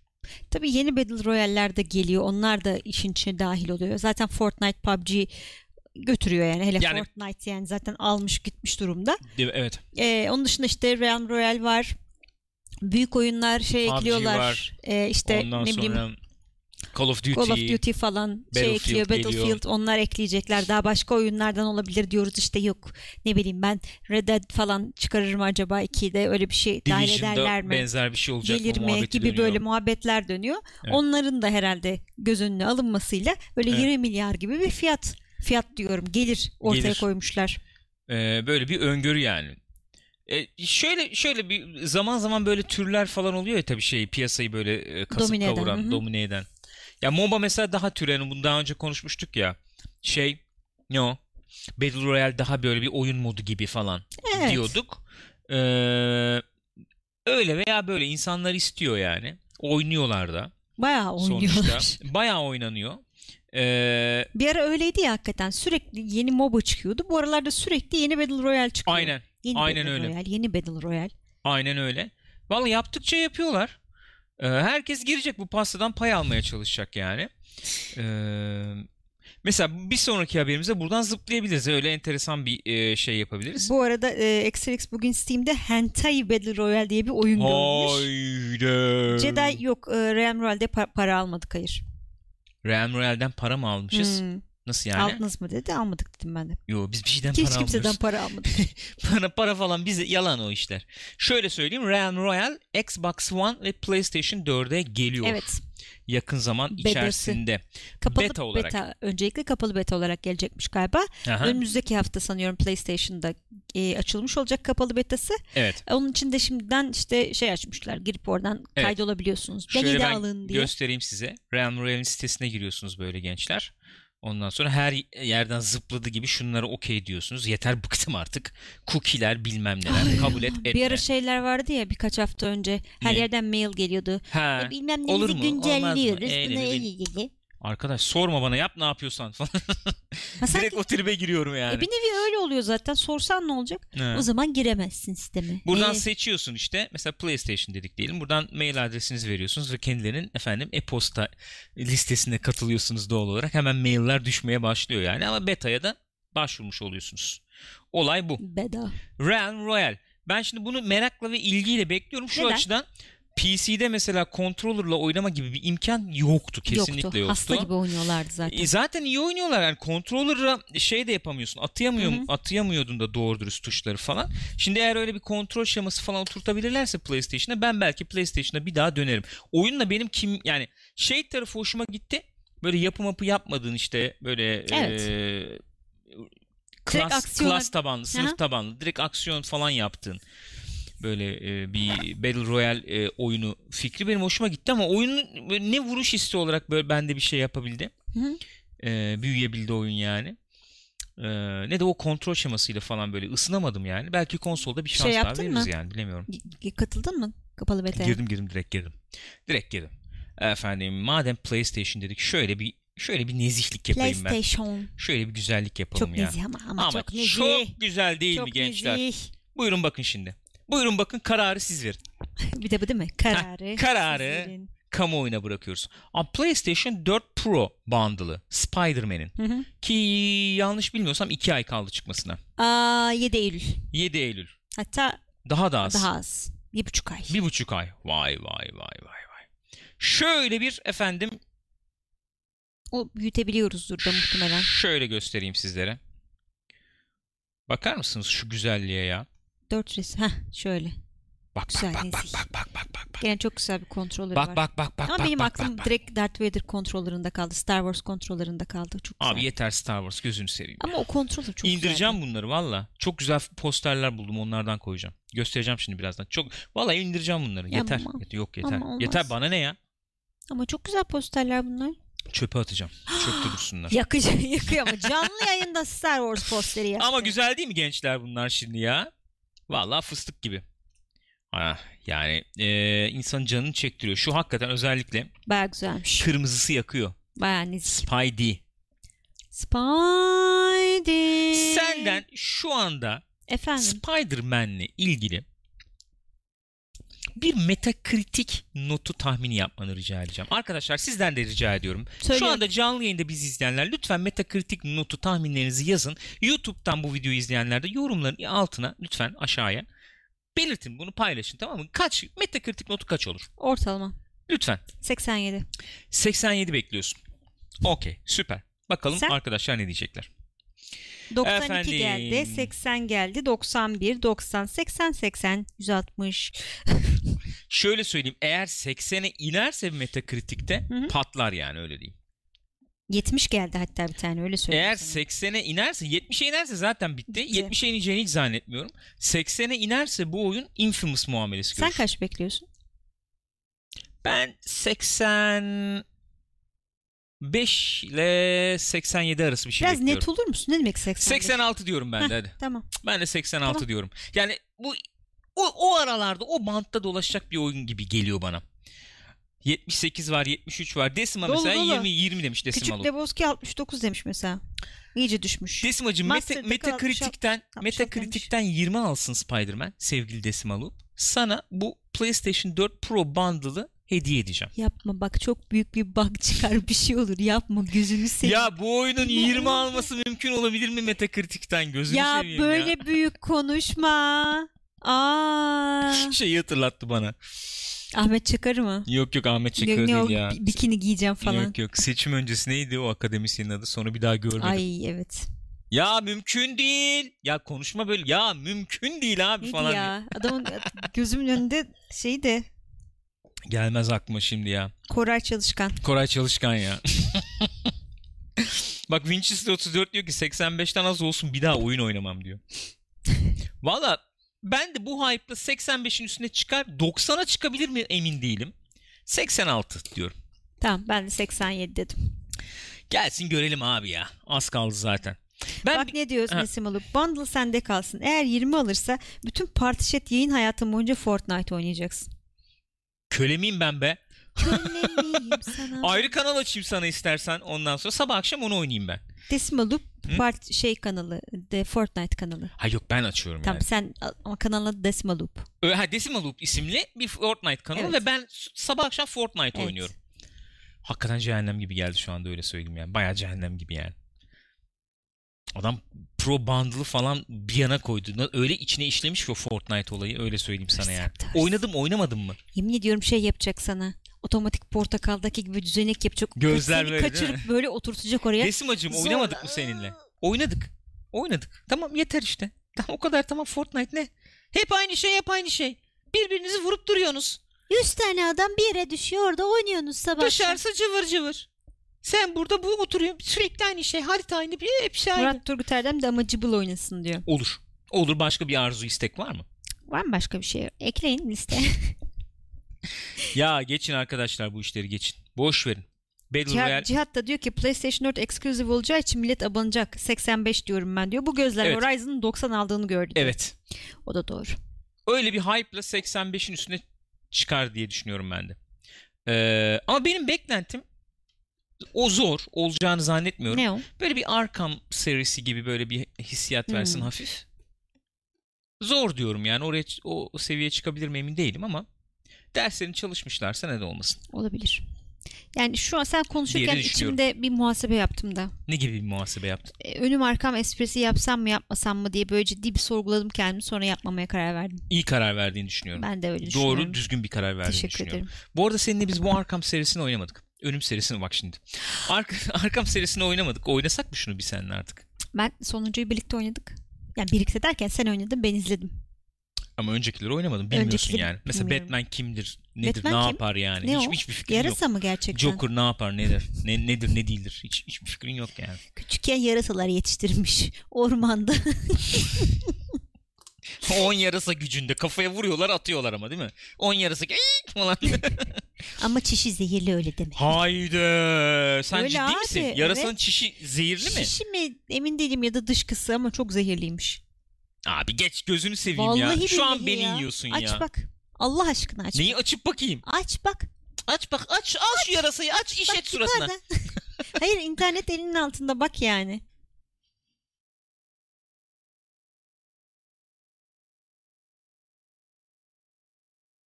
S2: Tabii yeni Battle Royale'ler de geliyor. Onlar da işin içine dahil oluyor. Zaten Fortnite, PUBG götürüyor yani. Hele
S1: Yani-
S2: Fortnite yani zaten almış gitmiş durumda.
S1: Evet.
S2: Ee, onun dışında işte Realm Royale var. Büyük oyunlar şey
S1: PUBG
S2: ekliyorlar.
S1: var.
S2: Ee, işte
S1: Ondan
S2: ne bileyim
S1: sonra Call of Duty,
S2: Call of Duty falan şey
S1: Battlefield
S2: ekliyor. Battlefield
S1: geliyor.
S2: onlar ekleyecekler. Daha başka oyunlardan olabilir diyoruz işte yok. Ne bileyim ben Red Dead falan çıkarırım acaba 2'de öyle bir şey dahil ederler
S1: Division'da
S2: mi?
S1: benzer bir şey olacak
S2: gelir
S1: bu
S2: mi
S1: muhabbeti
S2: gibi
S1: dönüyor.
S2: böyle muhabbetler dönüyor.
S1: Evet.
S2: Onların da herhalde göz önüne alınmasıyla böyle
S1: Evet.
S2: 20 milyar gibi bir fiyat fiyat diyorum gelir ortaya
S1: Gelir.
S2: koymuşlar.
S1: Ee, böyle bir öngörü yani. E, şöyle şöyle bir zaman zaman böyle türler falan oluyor ya tabii şey piyasayı böyle e, kasıp
S2: Domine eden,
S1: kavuran,
S2: hı hı.
S1: domine eden. Ya MOBA mesela daha tür yani bunu daha önce konuşmuştuk ya. Şey ne o? Battle Royale daha böyle bir oyun modu gibi falan
S2: Evet.
S1: diyorduk. Ee, öyle veya böyle insanlar istiyor yani. Oynuyorlar da
S2: Bayağı
S1: sonuçta.
S2: oynuyorlar.
S1: Bayağı oynanıyor. Ee,
S2: Bir ara öyleydi ya hakikaten sürekli yeni MOBA çıkıyordu. Bu aralarda sürekli yeni Battle Royale çıkıyor.
S1: aynen.
S2: Yeni
S1: aynen
S2: Battle
S1: öyle.
S2: Royale, yeni Battle Royale.
S1: Aynen öyle. Vallahi yaptıkça yapıyorlar. Ee, herkes girecek bu pastadan pay almaya çalışacak yani. Ee, mesela bir sonraki haberimize buradan zıplayabiliriz. Öyle enteresan bir e, şey yapabiliriz.
S2: Bu arada e, XRX bugün Steam'de Hentai Battle Royale diye bir oyun görmüş.
S1: Haydi.
S2: Jedi yok e, Realm Royale'de pa- para almadık hayır.
S1: Realm Royale'den para mı almışız?
S2: Hmm,
S1: Nasıl Şey, yani?
S2: Aldınız mı dedi almadık dedim ben de.
S1: Yo biz bir şeyden
S2: Hiç
S1: para
S2: kimseden
S1: almıyoruz.
S2: para almadık.
S1: para, para falan bize yalan o işler. Şöyle söyleyeyim Realm Royale Xbox One ve PlayStation 4'e geliyor.
S2: evet.
S1: Yakın zaman
S2: Bedesi.
S1: içerisinde.
S2: Kapalı
S1: Beta olarak.
S2: öncelikle kapalı beta olarak gelecekmiş galiba.
S1: Aha,
S2: Önümüzdeki hafta sanıyorum PlayStation'da e, açılmış olacak kapalı betası.
S1: evet.
S2: Onun için de şimdiden işte şey açmışlar. Girip oradan
S1: Evet.
S2: kaydolabiliyorsunuz.
S1: Şöyle
S2: Beni de
S1: ben
S2: alın diye.
S1: göstereyim size. Realm Royale'in sitesine giriyorsunuz böyle gençler. Ondan sonra her yerden zıpladığı gibi şunlara okey diyorsunuz. Yeter bıktım artık. Cookie'ler bilmem neler. Kabul et etme.
S2: Bir ara şeyler vardı ya birkaç hafta önce. Her
S1: Ne?
S2: yerden mail geliyordu.
S1: ha.
S2: E, Bilmem
S1: Olur
S2: neyimizi
S1: mu? Olmaz mı?
S2: güncelliyoruz.
S1: Eyle
S2: Buna
S1: bir
S2: iyi
S1: bin-
S2: ilgili.
S1: Arkadaş sorma bana yap ne yapıyorsan falan.
S2: Ha,
S1: [laughs]
S2: sanki-
S1: Direkt o tribe giriyorum yani.
S2: E, bir nevi öyle oluyor zaten. Sorsan ne olacak?
S1: Ha.
S2: O zaman giremezsin sisteme.
S1: Buradan
S2: E,
S1: seçiyorsun işte. Mesela PlayStation dedik diyelim. Buradan mail adresinizi veriyorsunuz ve kendilerinin efendim e-posta listesine katılıyorsunuz doğal olarak. Hemen mailler düşmeye başlıyor yani. Ama beta'ya da başvurmuş oluyorsunuz. Olay bu.
S2: Beda.
S1: Realm Royale. Ben şimdi bunu merakla ve ilgiyle bekliyorum. Şu
S2: Neden?
S1: açıdan PC'de mesela controller'la oynama gibi bir imkan yoktu. Kesinlikle
S2: yoktu.
S1: yoktu.
S2: Hasta gibi oynuyorlardı zaten.
S1: E, zaten iyi oynuyorlar yani controller'a şey de yapamıyorsun. Atayamıyor
S2: Hı hı.
S1: atayamıyordun da doğru dürüst tuşları falan. Şimdi eğer öyle bir kontrol şeması falan oturtabilirlerse PlayStation'a ben belki PlayStation'a bir daha dönerim. Oyunla benim kim yani şey tarafı hoşuma gitti. Böyle yapı mapı yapmadığın işte böyle
S2: Evet.
S1: e, klas,
S2: aksiyona-
S1: klas tabanlı, sınıf
S2: Aha.
S1: tabanlı direkt aksiyon falan yaptığın böyle e, bir Battle Royale e, oyunu fikri benim hoşuma gitti ama oyunun böyle ne vuruş hissi olarak böyle bende bir şey yapabildi.
S2: Hı hı.
S1: E, büyüyebildi oyun yani. Ee, ne de o kontrol şemasıyla falan böyle ısınamadım yani. Belki konsolda bir
S2: Şey
S1: şans daha
S2: yaptın
S1: veririz
S2: mı?
S1: yani bilemiyorum.
S2: Y- Katıldın mı kapalı beta'ya?
S1: Girdim girdim direkt girdim. Direkt girdim. Efendim madem PlayStation dedik şöyle bir şöyle bir nezihlik yapayım ben.
S2: PlayStation.
S1: Şöyle bir güzellik yapalım
S2: Çok
S1: ya.
S2: nezih ama, ama,
S1: Ama
S2: çok
S1: çok,
S2: nezih.
S1: güzel değil
S2: Çok
S1: mi gençler?
S2: nezih. [laughs]
S1: Buyurun bakın şimdi. Buyurun bakın kararı siz verin.
S2: Bir de bu değil mi? Kararı.
S1: kararı.
S2: sizlerin.
S1: Kamuoyuna bırakıyoruz. Ama PlayStation 4 Pro bundle'ı Spider-Man'in
S2: Hı hı.
S1: ki yanlış bilmiyorsam 2 ay kaldı çıkmasına.
S2: Aa, 7 Eylül.
S1: 7 Eylül.
S2: Hatta
S1: Daha da az.
S2: daha az. Bir buçuk ay.
S1: Bir buçuk ay. Vay vay vay vay vay. Şöyle bir efendim
S2: O büyütebiliyoruzdur da muhtemelen.
S1: şöyle göstereyim sizlere. Bakar mısınız şu güzelliğe ya?
S2: Dört resim. Heh şöyle.
S1: Bak
S2: Güzel,
S1: bak bak bak
S2: nezih.
S1: bak bak bak bak bak.
S2: Gene çok güzel bir kontrolü var.
S1: Bak bak bak bak
S2: Ama
S1: bak,
S2: benim
S1: bak,
S2: aklım
S1: bak, bak.
S2: direkt Darth Vader kontrollerinde kaldı. Star Wars kontrollerinde kaldı. Çok güzel.
S1: Abi yeter Star Wars gözünü seveyim.
S2: Ama o kontrol de çok
S1: İndireceğim bunları valla. Çok güzel posterler buldum onlardan koyacağım. Göstereceğim şimdi birazdan. Çok valla indireceğim bunları.
S2: Ya
S1: yeter.
S2: ama-
S1: Yeter- Yok yeter.
S2: ama olmaz.
S1: Yeter bana ne ya?
S2: güzeldi. Ama çok güzel posterler bunlar.
S1: Çöpe atacağım. Çöpte
S2: [gasps]
S1: dursunlar.
S2: Yakıcı, [laughs] yakıyor ama canlı yayında Star Wars posteri yaptı.
S1: Ama güzel değil mi gençler bunlar şimdi ya? Vallahi fıstık gibi. Ah, yani e, insan canını çektiriyor. Şu hakikaten özellikle
S2: Baya güzelmiş.
S1: kırmızısı yakıyor.
S2: Baya nezih.
S1: Spidey.
S2: Spidey.
S1: Senden şu anda
S2: Efendim.
S1: Spider-Man'le ilgili bir metakritik notu tahmini yapmanı rica edeceğim. Arkadaşlar sizden de rica ediyorum.
S2: Söyle.
S1: Şu anda canlı yayında bizi izleyenler lütfen metakritik notu tahminlerinizi yazın. YouTube'dan bu videoyu izleyenler de yorumların altına lütfen aşağıya belirtin bunu paylaşın tamam mı? Kaç metakritik notu kaç olur?
S2: Ortalama.
S1: Lütfen.
S2: 87.
S1: 87 bekliyorsun. Okey süper. Bakalım
S2: Sen?
S1: arkadaşlar ne diyecekler.
S2: 92
S1: Efendim.
S2: geldi. 80 geldi. 91, 90, 80, 80, 160.
S1: Şöyle söyleyeyim eğer 80'e inerse metakritikte
S2: Hı hı.
S1: patlar yani öyle diyeyim.
S2: 70 geldi hatta bir tane öyle söyleyeyim.
S1: Eğer
S2: sana.
S1: 80'e inerse 70'e inerse zaten bitti.
S2: Bitti.
S1: 70'e ineceğini hiç zannetmiyorum. 80'e inerse bu oyun infamous muamelesi
S2: Sen
S1: görür.
S2: kaç bekliyorsun?
S1: Ben 85 ile 87 arası bir şey
S2: Biraz net
S1: bekliyorum.
S2: olur musun? Ne demek 85?
S1: 86 diyorum ben de hadi.
S2: Tamam.
S1: Ben de 86
S2: Tamam.
S1: diyorum. Yani bu o, o aralarda o bantta dolaşacak bir oyun gibi geliyor bana. 78 var, 73 var. Decima
S2: Dolu,
S1: mesela
S2: dolu.
S1: 20 20 demiş
S2: Küçük
S1: Decimalı.
S2: Lebowski 69 demiş mesela. İyice düşmüş.
S1: Decimacım meta,
S2: Master'da kal-
S1: Metacritic'ten
S2: altmış alt
S1: Metacritic'ten 20 alsın Spider-Man sevgili Decimalı. Sana bu PlayStation 4 Pro bundle'ı hediye edeceğim.
S2: Yapma bak çok büyük bir bug [laughs] çıkar bir şey olur. Yapma gözünü seveyim.
S1: Ya bu oyunun 20 alması mümkün olabilir mi Metacritic'ten gözünü
S2: Ya
S1: seveyim [laughs]
S2: böyle
S1: ya.
S2: büyük konuşma.
S1: [laughs]
S2: Aa.
S1: Şeyi hatırlattı bana.
S2: Ahmet Çakar'ı mı?
S1: Yok yok Ahmet
S2: Ne-
S1: Çakır
S2: ne
S1: değil
S2: o,
S1: ya.
S2: bi- Bikini giyeceğim falan.
S1: Yok yok seçim öncesi neydi o akademisyenin adı sonra bir daha görmedim.
S2: Ay evet.
S1: Ya mümkün değil. Ya konuşma böyle ya mümkün değil abi
S2: Neydi
S1: falan.
S2: ya? Adamın gözümün önünde şey de
S1: diye. Gelmez aklıma şimdi ya.
S2: Koray Çalışkan.
S1: Koray Çalışkan ya. [laughs] Bak Winchester 34 diyor ki 85'ten az olsun bir daha oyun oynamam [laughs] diyor. Valla ben de bu hype'la 85'in üstüne çıkar 90'a çıkabilir mi emin değilim. 86 diyorum.
S2: Tamam ben de 87 dedim.
S1: Gelsin görelim abi ya. Az kaldı zaten. Ben
S2: Bak ne diyoruz
S1: Ha.
S2: Nesim Alık. Bundle sende kalsın. Eğer 20 alırsa bütün partişet yayın hayatın boyunca Fortnite oynayacaksın.
S1: köle miyim ben be?
S2: Köleliyim [laughs] sana.
S1: Ayrı kanal açayım sana istersen ondan sonra sabah akşam onu oynayayım ben.
S2: Decimal Loop
S1: Hı?
S2: part şey kanalı, de Fortnite kanalı.
S1: Ha yok ben açıyorum
S2: Tamam
S1: yani.
S2: sen ama kanalın adı Decimal Loop.
S1: Ö- Ha Decimal Loop isimli bir Fortnite kanalı
S2: Evet.
S1: ve ben s- sabah akşam Fortnite
S2: Evet.
S1: oynuyorum. Hakikaten cehennem gibi geldi şu anda öyle söyleyeyim yani. Bayağı cehennem gibi yani. Adam Pro Bundle'ı falan bir yana koydu. Na- Öyle içine işlemiş ki o Fortnite olayı öyle söyleyeyim sana yani.
S2: Hırsız, hırsız.
S1: Oynadım oynamadın mı?
S2: Yemin ediyorum şey yapacak sana. Otomatik portakaldaki gibi düzenek yapacak.
S1: Gözler
S2: Seni
S1: böyle değil
S2: kaçırıp
S1: mi?
S2: böyle oturtacak oraya.
S1: Desimacım
S2: Zorla-
S1: oynamadık mı seninle? Oynadık. Oynadık. Tamam yeter işte. Tamam o kadar tamam Fortnite ne? Hep aynı şey hep aynı şey. Birbirinizi vurup duruyorsunuz.
S2: 100 tane adam bir yere düşüyor orada oynuyorsunuz sabah.
S1: Dışarısı cıvır cıvır. Sen burada bu oturuyorsun. Sürekli aynı şey. Harita aynı. Bir, hepsi aynı.
S2: Murat Turgut Erdem de amacı bul oynasın diyor.
S1: Olur. Olur. Başka bir arzu istek var mı?
S2: Var mı başka bir şey? Ekleyin liste.
S1: ya geçin arkadaşlar bu işleri geçin. Boş verin. Battle Royale
S2: Cihat, Cihat da diyor ki PlayStation 4 exclusive olacağı için millet abanacak. 85 diyorum ben diyor. Bu gözler
S1: Evet.
S2: Horizon'ın 90 aldığını gördü. diyor.
S1: evet.
S2: O da doğru.
S1: Öyle bir hype'la 85'in üstüne çıkar diye düşünüyorum ben de. Ee, ama benim beklentim o zor olacağını zannetmiyorum.
S2: Ne o?
S1: Böyle bir Arkham serisi gibi böyle bir hissiyat
S2: Hmm.
S1: versin hafif. Zor diyorum yani oraya ç- o o seviyeye çıkabilir mi emin değilim ama derslerini çalışmışlarsa ne de olmasın.
S2: Olabilir. Yani şu an sen konuşurken
S1: Diğeri düşünüyorum.
S2: içimde bir muhasebe yaptım da.
S1: Ne gibi bir muhasebe yaptın?
S2: E, Önüm arkam esprisi yapsam mı yapmasam mı diye böyle ciddi bir sorguladım kendimi. Sonra yapmamaya karar verdim.
S1: İyi karar verdiğini düşünüyorum.
S2: Ben de öyle düşünüyorum.
S1: Doğru düzgün bir karar verdiğini
S2: Teşekkür
S1: düşünüyorum.
S2: ederim.
S1: Bu arada seninle biz bu Arkham serisini oynamadık. Önüm serisini bak şimdi. Ark [laughs] Arkham serisini oynamadık. Oynasak mı şunu bir seninle artık?
S2: Ben sonuncuyu birlikte oynadık. Yani birlikte derken sen oynadın ben izledim.
S1: Ama öncekileri oynamadım. Bilmiyorsun
S2: Öncekileri
S1: yani. Mesela
S2: bilmiyorum.
S1: Batman kimdir? Nedir?
S2: Batman
S1: ne
S2: kim?
S1: yapar yani?
S2: Ne
S1: hiç,
S2: o?
S1: Hiçbir fikrin yok.
S2: Yarasa mı gerçekten?
S1: Joker ne yapar? Nedir? Ne, nedir? Ne değildir? Hiç, hiçbir fikrin yok yani. [laughs]
S2: Küçükken yarasalar yetiştirmiş [laughs] ormanda.
S1: 10 yarasa gücünde. Kafaya vuruyorlar atıyorlar ama değil mi? 10 yarasa "Ey!" [laughs]
S2: [laughs]
S1: falan.
S2: Ama çişi zehirli öyle deme.
S1: Haydi. Sen
S2: Öyle
S1: ciddi
S2: abi,
S1: misin? Yarasanın çişi zehirli mi?
S2: Şişi mi emin değilim ya da dışkısı ama çok zehirliymiş.
S1: Abi geç gözünü seveyim
S2: Vallahi
S1: ya. Şu an
S2: billahi
S1: beni
S2: ya.
S1: yiyorsun
S2: aç
S1: ya.
S2: bak. Allah aşkına aç.
S1: Neyi
S2: bak.
S1: açıp bakayım?
S2: Aç bak.
S1: Aç bak aç al şu yarasayı aç iş
S2: Bak
S1: et suratına. [laughs]
S2: yukarıda. [laughs] Hayır internet elinin altında bak yani.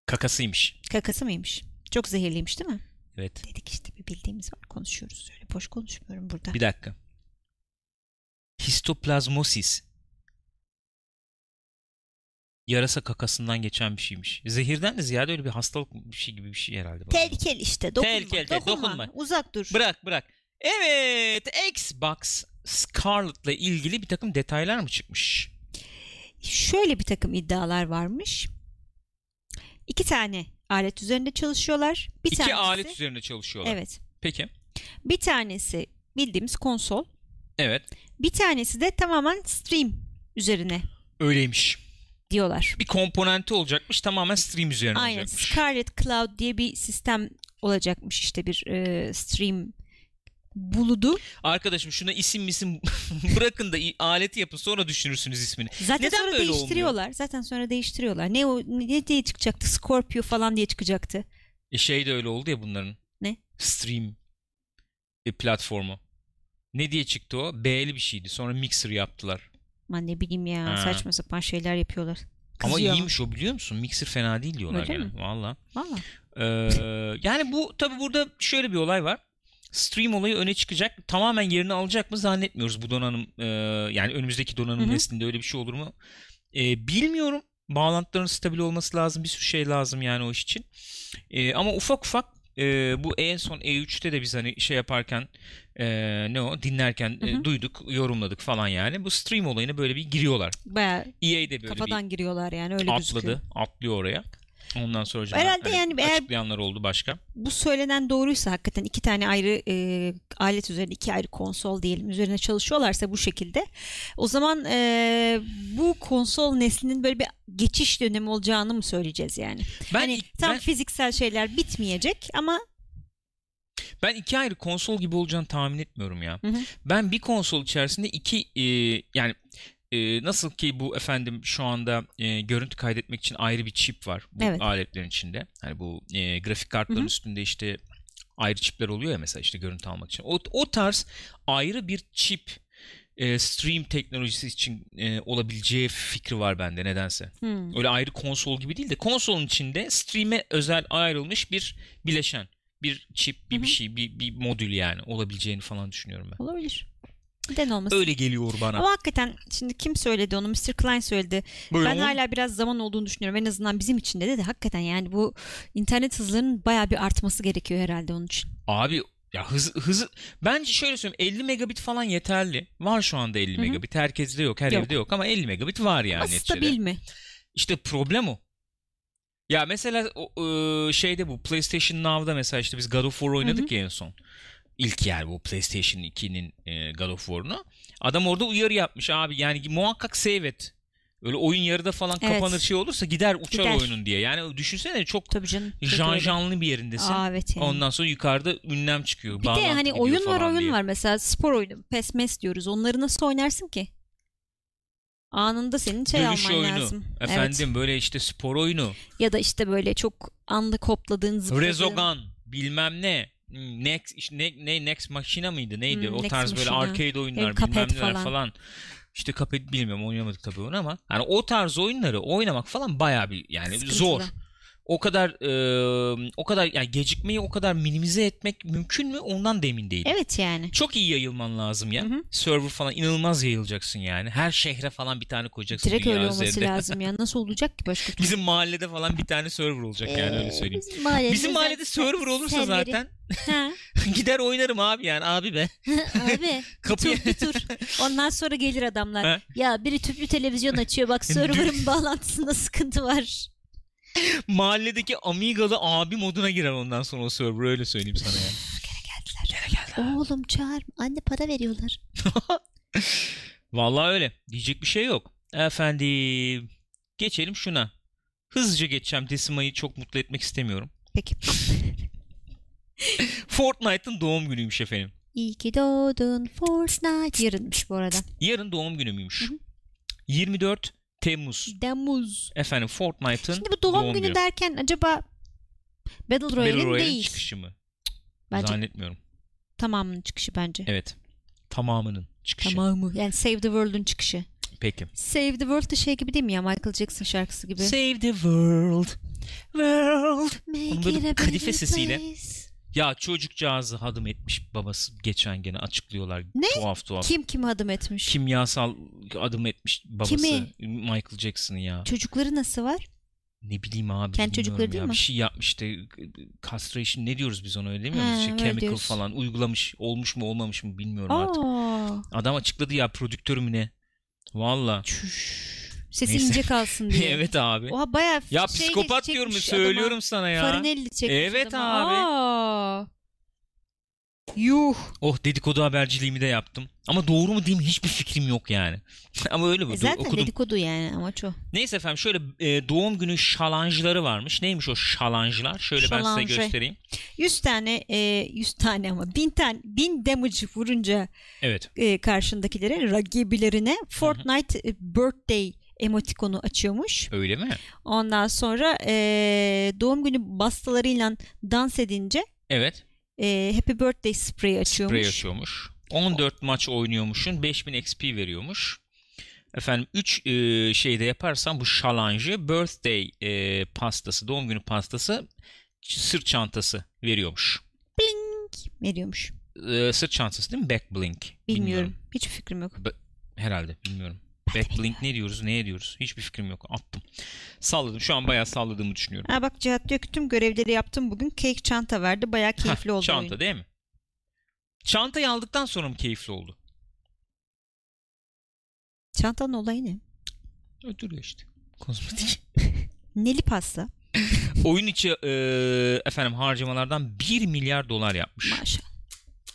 S1: Kakasıymış.
S2: Kakası mıymış? Çok zehirliymiş değil mi?
S1: Evet.
S2: Dedik işte bir bildiğimiz var konuşuyoruz. Öyle boş konuşmuyorum burada.
S1: Bir dakika. Histoplazmosis. Yarasa kakasından geçen bir şeymiş. Zehirden de ziyade öyle bir hastalık bir şey gibi bir şey herhalde. bu.
S2: Tehlikeli işte. Dokunma.
S1: Tehlikeli,
S2: dokunma.
S1: dokunma.
S2: Uzak dur.
S1: Bırak bırak. Evet Xbox Scarlet'la ilgili bir takım detaylar mı çıkmış?
S2: Şöyle bir takım iddialar varmış. İki tane alet üzerinde çalışıyorlar. Bir
S1: İki
S2: tanesi,
S1: alet üzerinde çalışıyorlar.
S2: Evet.
S1: Peki.
S2: Bir tanesi bildiğimiz konsol.
S1: Evet.
S2: Bir tanesi de tamamen stream üzerine
S1: Öyleymiş.
S2: diyorlar.
S1: Bir komponenti olacakmış tamamen stream üzerine
S2: Aynen.
S1: olacakmış.
S2: Scarlet Cloud diye bir sistem olacakmış işte bir e, stream buludu.
S1: Arkadaşım şuna isim misim [laughs] bırakın da i- aleti yapın sonra düşünürsünüz ismini.
S2: Zaten
S1: Neden
S2: sonra
S1: böyle olmuyor?
S2: değiştiriyorlar. Zaten sonra değiştiriyorlar. Ne o ne diye çıkacaktı? Scorpio falan diye çıkacaktı.
S1: E şey de öyle oldu ya bunların.
S2: Ne?
S1: Stream e, platformu. Ne diye çıktı o? B'li bir şeydi. Sonra Mixer yaptılar.
S2: Aman ne bileyim ya
S1: Ha.
S2: saçma sapan şeyler yapıyorlar.
S1: Ama
S2: Kızıyor
S1: iyiymiş o biliyor musun? Mixer fena değil diyorlar
S2: Öyle
S1: yani.
S2: mi?
S1: Valla.
S2: Valla.
S1: Ee, yani bu tabi burada şöyle bir olay var. Stream olayı öne çıkacak. Tamamen yerini alacak mı zannetmiyoruz bu donanım. e, yani önümüzdeki donanım
S2: Hı hı.
S1: neslinde öyle bir şey olur mu? E, bilmiyorum. Bağlantıların stabil olması lazım. Bir sürü şey lazım yani o iş için. E, ama ufak ufak e, bu en son E3'te de biz hani şey yaparken e, ne o dinlerken e,
S2: Hı hı.
S1: duyduk, yorumladık falan yani. Bu stream olayına böyle bir giriyorlar.
S2: Baya
S1: EA'de böyle bir
S2: kafadan giriyorlar yani öyle
S1: atladı,
S2: gözüküyor.
S1: atlıyor oraya. Ondan sonra hocam
S2: Herhalde
S1: hani
S2: yani eğer-
S1: açıklayanlar oldu başka.
S2: Bu söylenen doğruysa hakikaten iki tane ayrı e, alet üzerine iki ayrı konsol diyelim üzerine çalışıyorlarsa bu şekilde o zaman e, bu konsol neslinin böyle bir geçiş dönemi olacağını mı söyleyeceğiz yani?
S1: Ben,
S2: hani
S1: ik-
S2: tam
S1: ben,
S2: fiziksel şeyler bitmeyecek ama
S1: ben iki ayrı konsol gibi olacağını tahmin etmiyorum ya.
S2: Hı hı.
S1: Ben bir konsol içerisinde iki e, yani e, nasıl ki bu efendim şu anda e, görüntü kaydetmek için ayrı bir çip var bu
S2: Evet.
S1: aletlerin içinde. Hani bu e, grafik kartların
S2: Hı hı.
S1: üstünde işte ayrı çipler oluyor ya mesela işte görüntü almak için. O, o tarz ayrı bir çip e, stream teknolojisi için e, olabileceği fikri var bende nedense.
S2: hmm,
S1: Öyle ayrı konsol gibi değil de konsolun içinde stream'e özel ayrılmış bir bileşen, bir çip, bir
S2: Hı
S1: bir
S2: hı.
S1: şey, bir, bir modül yani olabileceğini falan düşünüyorum ben.
S2: olabilir. Neden olmasın?
S1: Öyle geliyor bana.
S2: Ama hakikaten şimdi kim söyledi onu? Mr. Klein söyledi.
S1: Böyle
S2: ben
S1: olma-
S2: hala biraz zaman olduğunu düşünüyorum. En azından bizim için de de hakikaten yani bu internet hızlarının bayağı bir artması gerekiyor herhalde onun için.
S1: Abi ya hız hızı bence şöyle söyleyeyim 50 megabit falan yeterli. Var şu anda 50
S2: Hı hı.
S1: megabit. Herkeste yok, her
S2: Yok.
S1: evde yok ama 50 megabit var yani
S2: Ama
S1: neticede.
S2: stabil mi?
S1: İşte problem o. Ya mesela o, e, şeyde bu PlayStation Now'da mesela işte biz God of War oynadık ya en son. İlk yer bu PlayStation 2'nin e, God of War'unu. Adam orada uyarı yapmış abi yani muhakkak save et. Öyle oyun yarıda falan
S2: Evet.
S1: kapanır şey olursa gider uçar
S2: Gider.
S1: oyunun diye. Yani düşünsene çok
S2: Tabii canım. çok
S1: jan
S2: öyle.
S1: janlı bir yerindesin.
S2: Aa, evet yani.
S1: Ondan sonra yukarıda ünlem çıkıyor.
S2: bir de
S1: bağlantı
S2: hani
S1: gidiyor
S2: oyun var
S1: falan
S2: oyun
S1: diye.
S2: var mesela spor oyunu pes mes diyoruz onları nasıl oynarsın ki? Anında senin şey
S1: Dövüş
S2: alman
S1: oyunu.
S2: lazım. Evet.
S1: Efendim böyle işte spor oyunu.
S2: Ya da işte böyle çok anlık hopladığın zıpladığın.
S1: Rezogan bilmem ne. Hmm, Next işte ne, ne Next Machina mıydı neydi
S2: Hmm,
S1: o
S2: Next
S1: tarz böyle
S2: Machina.
S1: arcade oyunlar
S2: Evet,
S1: bilmem
S2: Cuphead
S1: neler
S2: falan.
S1: falan. İşte kapet bilmiyorum oynamadık tabii onu ama hani o tarz oyunları oynamak falan bayağı bir yani
S2: Sıkıntılı.
S1: zor. O kadar e, o kadar yani gecikmeyi o kadar minimize etmek mümkün mü ondan da emin değilim.
S2: Evet yani.
S1: Çok iyi yayılman lazım ya.
S2: Hı hı.
S1: Server falan inanılmaz yayılacaksın yani. Her şehre falan bir tane koyacaksın
S2: Direkt
S1: dünya
S2: öyle olması
S1: üzerinde.
S2: lazım ya. Nasıl olacak
S1: [laughs]
S2: ki başka türlü?
S1: Bizim mahallede falan bir tane server olacak yani öyle söyleyeyim.
S2: Bizim mahallede,
S1: Bizim mahallede server olursa zaten [laughs]
S2: Ha,
S1: gider oynarım abi yani abi be.
S2: abi bir
S1: Kapıyı-
S2: tur bir tur.
S1: [laughs]
S2: Ondan sonra gelir adamlar.
S1: Ha?
S2: Ya biri tüplü televizyon açıyor bak server'ın [laughs] bağlantısında sıkıntı var.
S1: [laughs] Mahalledeki Amiga'lı abi moduna girer ondan sonra o server öyle söyleyeyim sana
S2: [laughs]
S1: yani.
S2: Oğlum çağır anne para veriyorlar.
S1: Vallahi öyle. Diyecek bir şey yok. Efendim geçelim şuna. Hızlıca geçeceğim. Decima'yı çok mutlu etmek istemiyorum. [laughs]
S2: Peki.
S1: Fortnite'ın doğum günüymüş efendim.
S2: İyi ki doğdun Fortnite. Yarınmış bu arada.
S1: Yarın doğum günüymüş.
S2: Hı hı.
S1: 24 Temmuz.
S2: Demuz.
S1: Efendim Fortnite'ın
S2: Şimdi bu doğum, günü
S1: günü.
S2: derken acaba Battle
S1: Battle
S2: Royale'in
S1: Royale'in
S2: değil.
S1: çıkışı mı?
S2: Bence
S1: Zannetmiyorum.
S2: tamamının çıkışı bence.
S1: Evet. Tamamının çıkışı.
S2: Tamamı. Yani Save the World'un çıkışı.
S1: Peki.
S2: Save the World da şey gibi değil mi ya Michael Jackson şarkısı gibi.
S1: Save the world. World. Onun
S2: Make
S1: böyle
S2: it a
S1: bir kadife
S2: better
S1: sesiyle.
S2: place.
S1: Ya çocukcağızı hadım etmiş babası geçen gene açıklıyorlar.
S2: Ne?
S1: Tuhaf tuhaf.
S2: Kim kim adım etmiş?
S1: Kimyasal adım etmiş babası
S2: Kimi?
S1: Michael Jackson'ı ya.
S2: Çocukları nasıl var?
S1: Ne bileyim abi
S2: Kendi
S1: bilmiyorum
S2: çocukları değil
S1: ya.
S2: mi?
S1: Bir şey yapmış işte castration ne diyoruz biz ona öyle demiyor
S2: Ha,
S1: musunuz? İşte
S2: öyle
S1: chemical
S2: diyoruz.
S1: falan uygulamış olmuş mu olmamış mı bilmiyorum artık.
S2: Aa.
S1: Adam açıkladı ya prodüktörü mü ne? Valla.
S2: Çüş. Sesi
S1: Neyse.
S2: ince kalsın diye.
S1: [laughs] evet abi.
S2: Oha bayağı
S1: Ya
S2: şey
S1: psikopat
S2: çekmiş
S1: diyorum
S2: adama.
S1: söylüyorum sana ya.
S2: Farinelli çekmiş
S1: Evet
S2: adama.
S1: abi.
S2: Aa. Yuh. E,
S1: Oh dedikodu haberciliğimi de yaptım. Ama doğru mu değil mi hiçbir fikrim yok yani. [laughs] Ama öyle
S2: E
S1: böyle
S2: zaten
S1: okudum.
S2: dedikodu yani amaç o.
S1: Neyse efendim şöyle e, doğum günü şalancıları varmış. Neymiş o şalancılar? Şöyle ben
S2: Şalancı.
S1: size göstereyim.
S2: 100 tane, e, 100 tane ama 1000 tane, 1000 damage vurunca
S1: Evet.
S2: e, karşındakilere, rakibilerine Fortnite e, birthday emotikonu açıyormuş.
S1: Öyle mi?
S2: Ondan sonra e, doğum günü bastalarıyla dans edince
S1: Evet.
S2: e, happy birthday spray'i açıyormuş.
S1: Sprey açıyormuş. 14 maç oynuyormuşsun. 5000 XP veriyormuş. Efendim 3 e, şeyde yaparsan bu şalancı birthday e, pastası, doğum günü pastası ç- sırt çantası veriyormuş.
S2: Veriyormuş.
S1: E, sırt çantası değil mi? Back blink.
S2: Bilmiyorum. Hiçbir fikrim yok.
S1: Herhalde bilmiyorum. Backblink ne diyoruz ne ediyoruz hiçbir fikrim yok attım. Salladım şu an bayağı salladığımı düşünüyorum.
S2: Ha bak Cihat diyor ki tüm görevleri yaptım bugün. Cake çanta verdi. Bayağı keyifli
S1: Hah,
S2: oldu
S1: Çanta
S2: oyun.
S1: değil mi? Çantayı aldıktan sonra mı keyifli oldu?
S2: Çantanın olayı ne?
S1: Ödürüyor işte. Kozmetik.
S2: Neli pasta.
S1: Oyun içi e, efendim harcamalardan 1 milyar dolar yapmış
S2: Maşallah.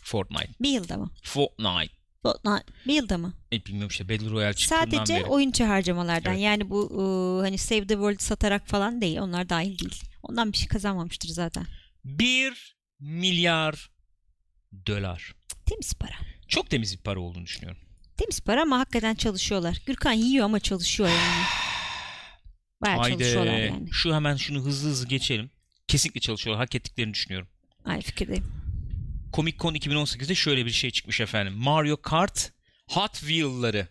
S1: Fortnite.
S2: Bir yılda mı?
S1: Fortnite.
S2: Fortnite. Bir yılda mı?
S1: E, bilmiyorum işte Battle Royale çıktığından
S2: Sadece
S1: beri.
S2: oyuncu harcamalardan
S1: Evet.
S2: yani bu e, hani Save the World satarak falan değil onlar dahil değil. Ondan bir şey kazanmamıştır zaten.
S1: 1 milyar dolar.
S2: Temiz para.
S1: Çok temiz bir para olduğunu düşünüyorum.
S2: Temiz para ama hakikaten çalışıyorlar. Gürkan yiyor ama çalışıyor yani.
S1: [sighs]
S2: Bayağı çalışıyorlar yani.
S1: Şu hemen şunu hızlı hızlı geçelim. Kesinlikle çalışıyorlar. Hak ettiklerini düşünüyorum.
S2: Aynı fikirdeyim.
S1: Comic Con 2018'de şöyle bir şey çıkmış efendim. Mario Kart Hot Wheel'ları.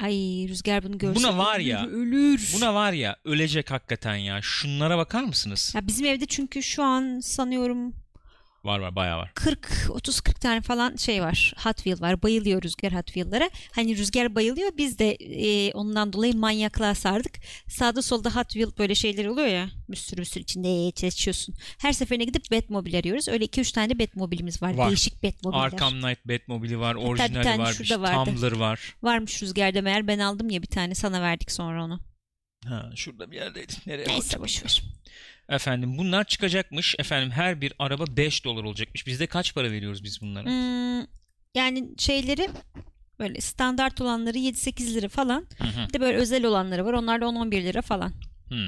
S2: Ay Rüzgar bunu görse
S1: Buna var
S2: ölür,
S1: ya.
S2: Ölür.
S1: Buna var ya ölecek hakikaten ya. Şunlara bakar mısınız?
S2: Ya bizim evde çünkü şu an sanıyorum
S1: Var var bayağı var.
S2: 40 30 40 tane falan şey var. Hot Wheel var. Bayılıyor Rüzgar Hot Wheel'lara. Hani Rüzgar bayılıyor. Biz de e, ondan dolayı manyaklığa sardık. Sağda solda Hot Wheel böyle şeyler oluyor ya. Bir sürü bir sürü içinde çalışıyorsun. Her seferine gidip Batmobile arıyoruz. Öyle 2 3 tane de Batmobile'imiz var.
S1: Var.
S2: Değişik Batmobiller.
S1: Arkham Knight Batmobile'i var, orijinali
S2: tane
S1: var,
S2: şurada
S1: işte
S2: vardı.
S1: Tumblr var.
S2: Varmış Rüzgar'da meğer ben aldım ya bir tane sana verdik sonra onu.
S1: Ha, şurada bir yerdeydi. Nereye
S2: Neyse boşver.
S1: Efendim bunlar çıkacakmış. Efendim her bir araba 5 dolar olacakmış. Bizde kaç para veriyoruz biz bunlara?
S2: Hmm, yani şeyleri Böyle standart olanları 7-8 lira falan.
S1: Hı hı.
S2: Bir de böyle özel olanları var. Onlar da 10-11 lira falan.
S1: Hmm.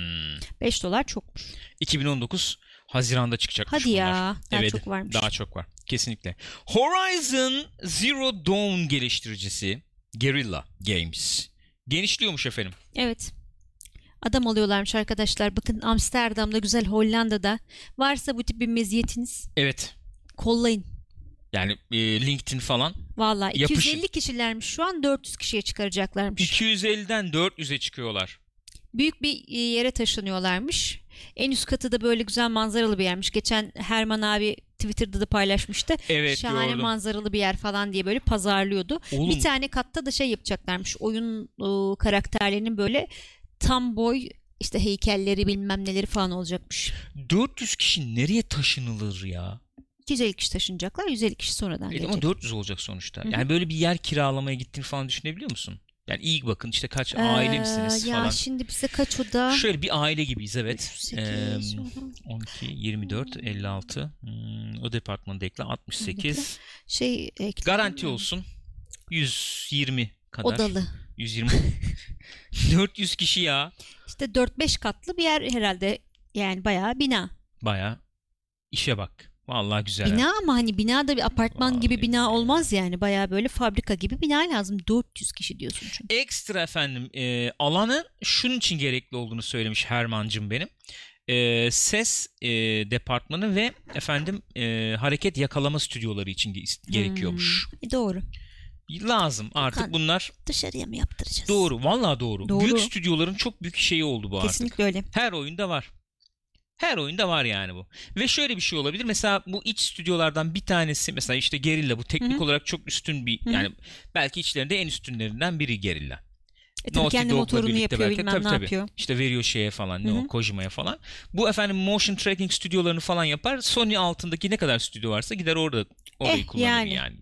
S2: 5 dolar çokmuş.
S1: 2019 Haziran'da çıkacakmış
S2: Hadi
S1: bunlar.
S2: ya. Daha
S1: Evet,
S2: çok varmış.
S1: Daha çok var. Kesinlikle. Horizon Zero Dawn geliştiricisi Guerrilla Games genişliyormuş efendim.
S2: Evet. Adam oluyorlarmış arkadaşlar. Bakın Amsterdam'da güzel Hollanda'da. Varsa bu tip bir meziyetiniz
S1: Evet.
S2: kollayın.
S1: Yani e, LinkedIn falan
S2: Vallahi
S1: Yapışın.
S2: 250 kişilermiş şu an 400 kişiye çıkaracaklarmış.
S1: 250'den 400'e çıkıyorlar.
S2: Büyük bir e, yere taşınıyorlarmış. En üst katı da böyle güzel manzaralı bir yermiş. Geçen Herman abi Twitter'da da paylaşmıştı.
S1: Evet
S2: Şahane
S1: gördüm.
S2: manzaralı bir yer falan diye böyle pazarlıyordu.
S1: Oğlum
S2: Bir tane katta da şey yapacaklarmış. Oyun e, karakterlerinin böyle tam boy işte heykelleri bilmem neleri falan olacakmış.
S1: 400 kişi nereye taşınılır ya?
S2: 250 kişi taşınacaklar. 150 kişi sonradan
S1: E,
S2: gelecek.
S1: ama 400 olacak sonuçta.
S2: Hı hı.
S1: Yani böyle bir yer kiralamaya gittiğini falan düşünebiliyor musun? Yani iyi bakın işte kaç aile
S2: Ee,
S1: misiniz
S2: ya
S1: falan.
S2: şimdi bize kaç oda?
S1: Şöyle bir aile gibiyiz evet.
S2: 8,
S1: Em, 12, 24, 56. Hmm, o departmanı da ekle 68.
S2: şey ekledim.
S1: Garanti olsun. 120 kadar.
S2: Odalı.
S1: [laughs] 120. 400 kişi ya.
S2: İşte 4-5 katlı bir yer herhalde. Yani bayağı bina.
S1: Baya işe bak. Vallahi güzel. ha.
S2: Bina ama hani binada bir apartman
S1: Vallahi
S2: gibi bina
S1: billahi.
S2: olmaz yani. Bayağı böyle fabrika gibi bina lazım. 400 kişi diyorsun çünkü.
S1: Ekstra efendim e, alanın şunun için gerekli olduğunu söylemiş Hermancım benim. E, ses e, departmanı ve efendim e, hareket yakalama stüdyoları için ge- gerekiyormuş.
S2: Hmm. E doğru.
S1: Lazım artık
S2: Hmm. Kan-
S1: bunlar
S2: Dışarıya mı yaptıracağız?
S1: doğru. Vallahi doğru.
S2: Doğru.
S1: Büyük stüdyoların çok büyük şeyi oldu bu artık.
S2: Kesinlikle öyle. E,
S1: Her oyunda var. Her oyunda var yani bu. Ve şöyle bir şey olabilir. Mesela bu iç stüdyolardan bir tanesi mesela işte Gerilla bu teknik
S2: Hı hı.
S1: olarak çok üstün bir
S2: Hı hı.
S1: yani belki içlerinde en üstünlerinden biri Gerilla.
S2: E tabii
S1: Naughty
S2: kendi
S1: Dog'la
S2: motorunu
S1: birlikte
S2: yapıyor
S1: belki.
S2: bilmem
S1: Tabii,
S2: ne
S1: tabii.
S2: yapıyor.
S1: İşte veriyor şeye falan ne
S2: Hı hı.
S1: o Kojima'ya falan. Bu efendim motion tracking stüdyolarını falan yapar. Sony altındaki ne kadar stüdyo varsa gider orada orayı
S2: Eh,
S1: kullanır yani.
S2: yani.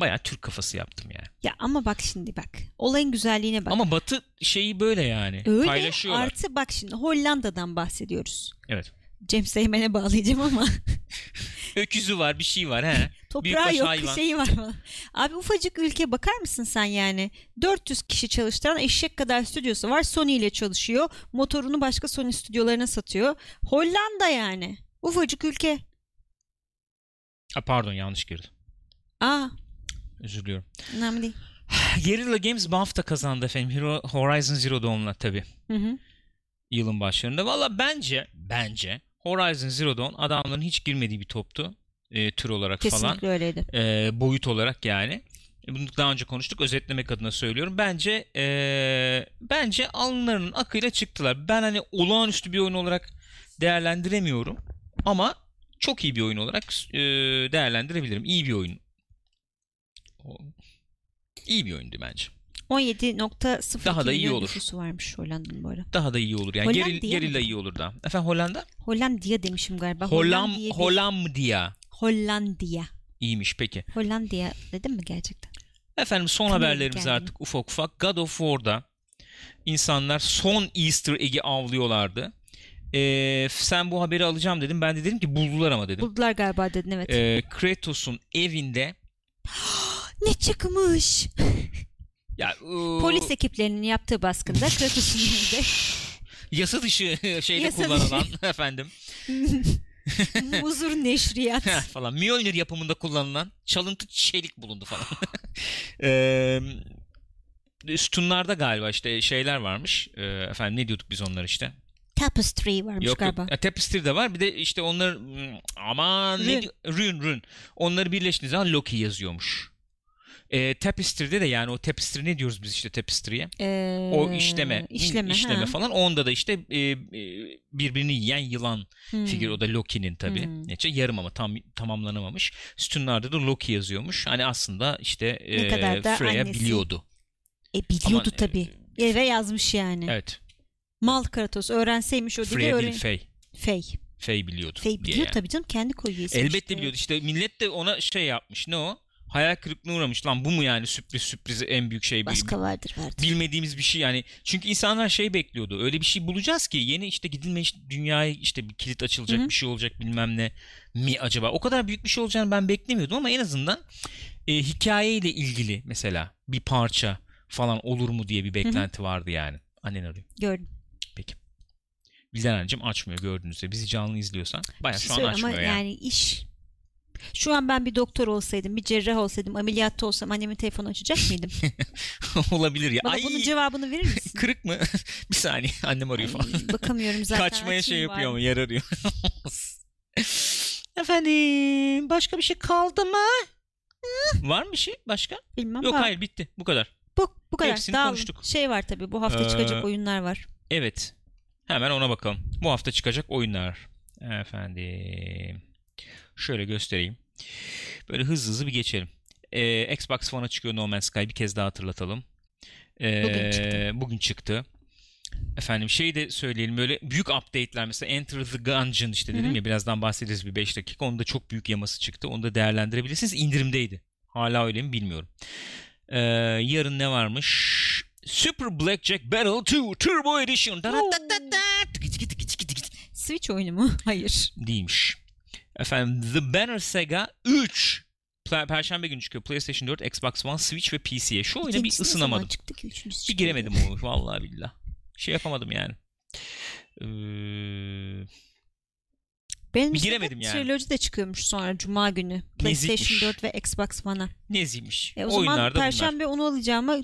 S1: Bayağı Türk kafası yaptım yani.
S2: Ya ama bak şimdi bak. Olayın güzelliğine bak.
S1: Ama Batı şeyi böyle yani.
S2: öyle
S1: Paylaşıyorlar.
S2: artı bak şimdi Hollanda'dan bahsediyoruz.
S1: Evet.
S2: Cem Seymen'e bağlayacağım ama [laughs]
S1: Öküzü var, bir şey var he.
S2: toprağı
S1: Büyükbaş
S2: yok
S1: hayvan.
S2: şeyi var falan. Abi ufacık ülke bakar mısın sen yani 400 kişi çalıştıran eşek kadar stüdyosu var Sony ile çalışıyor motorunu başka Sony stüdyolarına satıyor Hollanda yani ufacık ülke
S1: [laughs] Ha, pardon yanlış girdim.
S2: aa
S1: Özür diliyorum.
S2: önemli değil
S1: [laughs] Guerrilla Games BAFTA kazandı efendim. Hero Horizon Zero Dawn'la tabii.
S2: Hı hı.
S1: Yılın başlarında. Valla bence, bence Horizon Zero Dawn adamların hiç girmediği bir toptu. e, tür olarak falan.
S2: kesinlikle öyleydi
S1: E, boyut olarak yani. E, Bunu daha önce konuştuk. Özetlemek adına söylüyorum. Bence e, bence alınlarının akıyla çıktılar. Ben hani olağanüstü bir oyun olarak değerlendiremiyorum. Ama çok iyi bir oyun olarak e, değerlendirebilirim. İyi bir oyun. O- İyi bir oyundu bence.
S2: 17.02
S1: Daha da iyi
S2: milyon
S1: olur.
S2: nüfusu varmış Hollanda'nın bu arada
S1: daha da iyi olur yani.
S2: Hollanda
S1: Geril,
S2: diye mi?
S1: gerilla iyi olur daha. Efendim Hollanda?
S2: Hollandiya demişim galiba
S1: Hollam,
S2: Hollandiya değil.
S1: Hollandiya.
S2: Hollandiya
S1: İyiymiş peki.
S2: Hollandiya dedim mi gerçekten
S1: Efendim son
S2: Kınıyorum
S1: haberlerimiz
S2: kendimi.
S1: artık ufak ufak. God of War'da insanlar son Easter egg'i avlıyorlardı. Ee, sen bu haberi alacağım dedim. Ben de dedim ki buldular ama dedim.
S2: buldular galiba dedin evet
S1: Ee, Kratos'un evinde
S2: ne çıkmış
S1: ya, ee,
S2: Polis ekiplerinin
S1: [laughs]
S2: yaptığı baskında Kratos'un elinde
S1: yasa dışı [laughs] şeyde
S2: Yasa dışı.
S1: kullanılan [laughs] efendim [laughs]
S2: muzur neşriyat.
S1: falan Mjolnir yapımında kullanılan çalıntı çelik bulundu falan. [laughs] Eee sütunlarda galiba işte şeyler varmış. Eee, efendim ne diyorduk biz onlara işte?
S2: Tapestry varmış
S1: yok
S2: galiba.
S1: yok. E, tapestry de var. Bir de işte onlar hmm, aman ne
S2: Rune.
S1: diyor? Rune rune. Onları birleştiğiniz zaman Loki yazıyormuş. Eee tapestry'de de yani o tapestry ne diyoruz biz işte tapestry'ye?
S2: Ee,
S1: O işleme,
S2: işleme,
S1: işleme
S2: ha.
S1: falan. Onda da işte e, e, birbirini yiyen yılan
S2: Hmm.
S1: figür o da Loki'nin tabii.
S2: Hmm.
S1: Neyse, yarım ama tam tamamlanamamış. Sütunlarda da Loki yazıyormuş. Hani aslında işte e,
S2: kadar da
S1: Freya
S2: annesi.
S1: biliyordu.
S2: E biliyordu
S1: Aman, e,
S2: tabii. Eve yazmış yani.
S1: Evet.
S2: Mal Kratos öğrenseymiş o dili
S1: Freya değil
S2: öğren.
S1: Fey.
S2: Fey.
S1: Fey biliyordu.
S2: Fey
S1: diye
S2: biliyor
S1: yani.
S2: tabii canım kendi koyuyor ismini.
S1: Elbette biliyordu. İşte millet de ona şey yapmış. Ne o? Hayal kırıklığına uğramış. Lan bu mu yani sürpriz sürpriz en büyük şey.
S2: Başka vardır vardır.
S1: bilmediğimiz bir şey yani. Çünkü insanlar şey bekliyordu. Öyle bir şey bulacağız ki yeni işte gidilmemiş dünyaya işte bir kilit açılacak
S2: Hı hı.
S1: bir şey olacak bilmem ne mi acaba. O kadar büyük bir şey olacağını ben beklemiyordum ama en azından e, hikayeyle ilgili mesela bir parça falan olur mu diye bir beklenti vardı yani. Annen arıyor.
S2: Gördüm.
S1: Bilden anneciğim açmıyor gördüğünüzde. Bizi canlı izliyorsan bayağı
S2: Bir
S1: şu
S2: şey
S1: an
S2: söyle ama
S1: açmıyor yani.
S2: yani iş şu an ben bir doktor olsaydım, bir cerrah olsaydım, ameliyatta olsam annemin telefonu açacak
S1: [laughs]
S2: mıydım?
S1: [laughs] Olabilir ya.
S2: Bana
S1: Ay
S2: bunun cevabını verir
S1: [laughs]
S2: misin?
S1: kırık mı? bir saniye annem arıyor falan. [laughs]
S2: Ay, Bakamıyorum zaten.
S1: Kaçmaya şey
S2: açayım bari.
S1: yapıyor ama yer arıyor. [laughs] Efendim başka bir şey kaldı mı? Var mı bir şey başka?
S2: Bilmem.
S1: Yok
S2: var.
S1: hayır bitti bu kadar.
S2: Bu, bu kadar.
S1: Hepsini
S2: Dağılın.
S1: konuştuk.
S2: Şey var tabii bu hafta
S1: Ee,
S2: çıkacak oyunlar var.
S1: Evet hemen ona bakalım. Bu hafta çıkacak oyunlar. Efendim şöyle göstereyim. Böyle hızlı hızlı bir geçelim. Ee, Xbox One'a çıkıyor No Man's Sky bir kez daha hatırlatalım. Ee,
S2: Bugün çıktı.
S1: bugün çıktı. Efendim şey de söyleyelim böyle büyük update'ler mesela Enter the Gungeon işte dedim
S2: Hı hı.
S1: ya birazdan bahsederiz bir 5 dakika. Onda çok büyük yaması çıktı. Onu da değerlendirebilirsiniz. İndirimdeydi. Hala öyle mi bilmiyorum. Ee, yarın ne varmış? Super Blackjack Battle 2 Turbo Edition. Da da da da da. Tıkı tıkı tıkı tıkı tıkı.
S2: Switch oyunu mu? [laughs] Hayır.
S1: Değilmiş. Efendim The Banner Saga 3. Pe- Perşembe günü çıkıyor. PlayStation 4, Xbox One, Switch ve PC'ye. Şu oyuna bir
S2: İkincisi ne zaman
S1: ısınamadım.
S2: Çıktı ki, üçüncüsü
S1: Bir
S2: çıktı.
S1: giremedim o vallahi billah. Şey yapamadım yani. Ee,
S2: Benim
S1: Bir
S2: işte
S1: giremedim yani.
S2: Trilogy de çıkıyormuş sonra Cuma günü.
S1: Nezikmiş.
S2: PlayStation 4 ve Xbox One'a.
S1: neziymiş.
S2: E, o zaman
S1: Oyunlarda bunlar.
S2: Perşembe onu alacağıma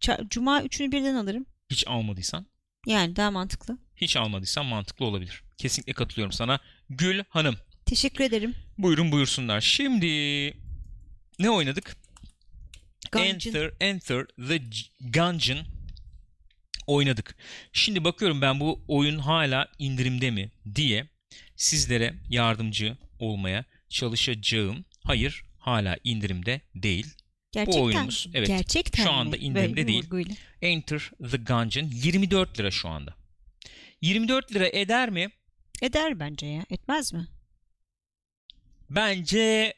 S2: ça- Cuma üçünü birden alırım.
S1: Hiç almadıysan.
S2: Yani daha mantıklı.
S1: Hiç almadıysan mantıklı olabilir. Kesinlikle katılıyorum sana. Gül Hanım.
S2: Teşekkür ederim.
S1: Buyurun buyursunlar. Şimdi ne oynadık?
S2: Gancın.
S1: Enter, Enter the G- Gungeon oynadık. Şimdi bakıyorum ben bu oyun hala indirimde mi diye sizlere yardımcı olmaya çalışacağım. Hayır hala indirimde değil.
S2: Gerçekten,
S1: oyunumuz, evet.
S2: Gerçekten
S1: Şu anda
S2: mi?
S1: indirimde
S2: Böyle
S1: değil.
S2: vurguyla.
S1: Enter the Gungeon 24 lira şu anda. 24 lira eder mi?
S2: Eder bence ya. Etmez mi?
S1: Bence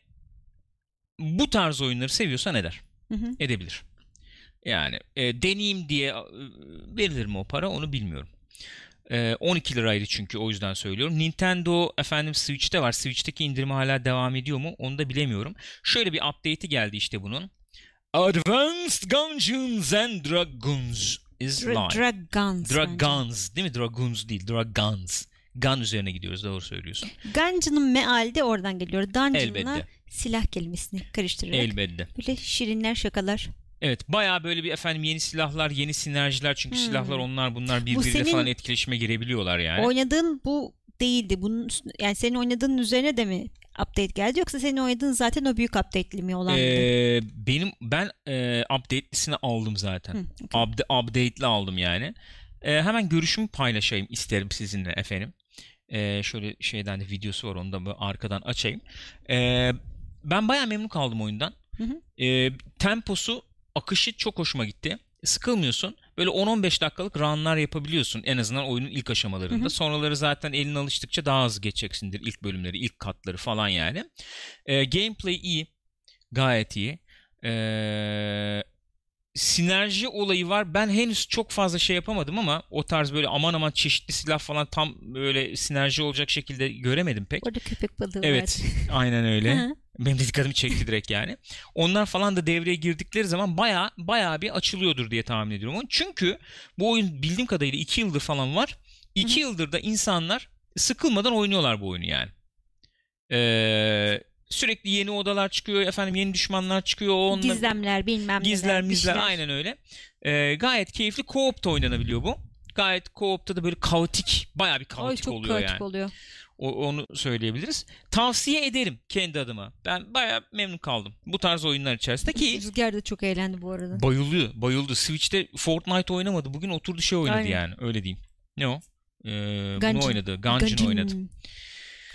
S1: bu tarz oyunları seviyorsan eder.
S2: Hı hı.
S1: edebilir. Yani e, deneyim diye e, verilir mi o para onu bilmiyorum. E, 12 liraydı çünkü o yüzden söylüyorum. Nintendo efendim Switch'te var. Switch'teki indirim hala devam ediyor mu onu da bilemiyorum. Şöyle bir update'i geldi işte bunun. Advanced Dungeons and Dragons is
S2: Dra-
S1: live.
S2: Dragons.
S1: Dragons değil mi? Dragons değil. Dragons. Gun üzerine gidiyoruz doğru söylüyorsun.
S2: bence. Gungeon'un meali de oradan geliyor. Dungeon'la
S1: Elbette.
S2: silah kelimesini karıştırarak.
S1: Elbette.
S2: Böyle şirinler şakalar.
S1: Evet bayağı böyle bir efendim yeni silahlar, yeni sinerjiler çünkü
S2: Hmm.
S1: silahlar onlar bunlar birbiriyle
S2: senin-
S1: falan etkileşime girebiliyorlar yani.
S2: Oynadığın bu değildi. Bunun üstüne- yani senin oynadığın üzerine de mi update geldi yoksa senin oynadığın zaten o büyük update'li mi olan? mıydı?
S1: Ee, benim ben e, update'lisini aldım zaten.
S2: Hı,
S1: Upda- update'li aldım yani. Ee, hemen görüşümü paylaşayım isterim sizinle efendim. Ee, şöyle şeyden de videosu var onu da böyle arkadan açayım. Ee, ben bayağı memnun kaldım oyundan.
S2: Hı hı.
S1: Ee, temposu, akışı çok hoşuma gitti. Sıkılmıyorsun. Böyle 10-15 dakikalık runlar yapabiliyorsun en azından oyunun ilk aşamalarında.
S2: Hı hı.
S1: Sonraları zaten eline alıştıkça daha hızlı geçeceksindir ilk bölümleri, ilk katları falan yani. Ee, gameplay iyi. Gayet iyi. Ee, sinerji olayı var. Ben henüz çok fazla şey yapamadım ama o tarz böyle aman aman çeşitli silah falan tam böyle sinerji olacak şekilde göremedim pek.
S2: Orada köpek balığı
S1: Evet,
S2: vardı.
S1: aynen öyle.
S2: Hı.
S1: Benim de dikkatimi çekti direkt yani. Onlar falan da devreye girdikleri zaman baya baya bir açılıyordur diye tahmin ediyorum. onu. Çünkü bu oyun bildiğim kadarıyla 2 yıldır falan var. 2 yıldır da insanlar sıkılmadan oynuyorlar bu oyunu yani. Ee, sürekli yeni odalar çıkıyor efendim yeni düşmanlar çıkıyor. o Onunla...
S2: Gizemler bilmem
S1: Gizler
S2: neler, bir
S1: mizler
S2: şeyler.
S1: aynen öyle. Ee, gayet keyifli co-op'ta oynanabiliyor bu. Gayet co-op'ta da böyle kaotik baya bir
S2: Oy
S1: kaotik
S2: çok
S1: oluyor
S2: kaotik
S1: yani.
S2: oluyor.
S1: O- onu söyleyebiliriz. Tavsiye ederim kendi adıma. Ben bayağı memnun kaldım. Bu tarz oyunlar içerisinde ki
S2: Rüzgar da çok eğlendi bu arada.
S1: bayılıyor. Bayıldı. Switch'te Fortnite oynamadı. Bugün oturdu şey oynadı
S2: Aynen.
S1: yani. Öyle diyeyim. Ne o? Ee,
S2: Gungeon.
S1: Bunu oynadı. Gungeon, oynadı.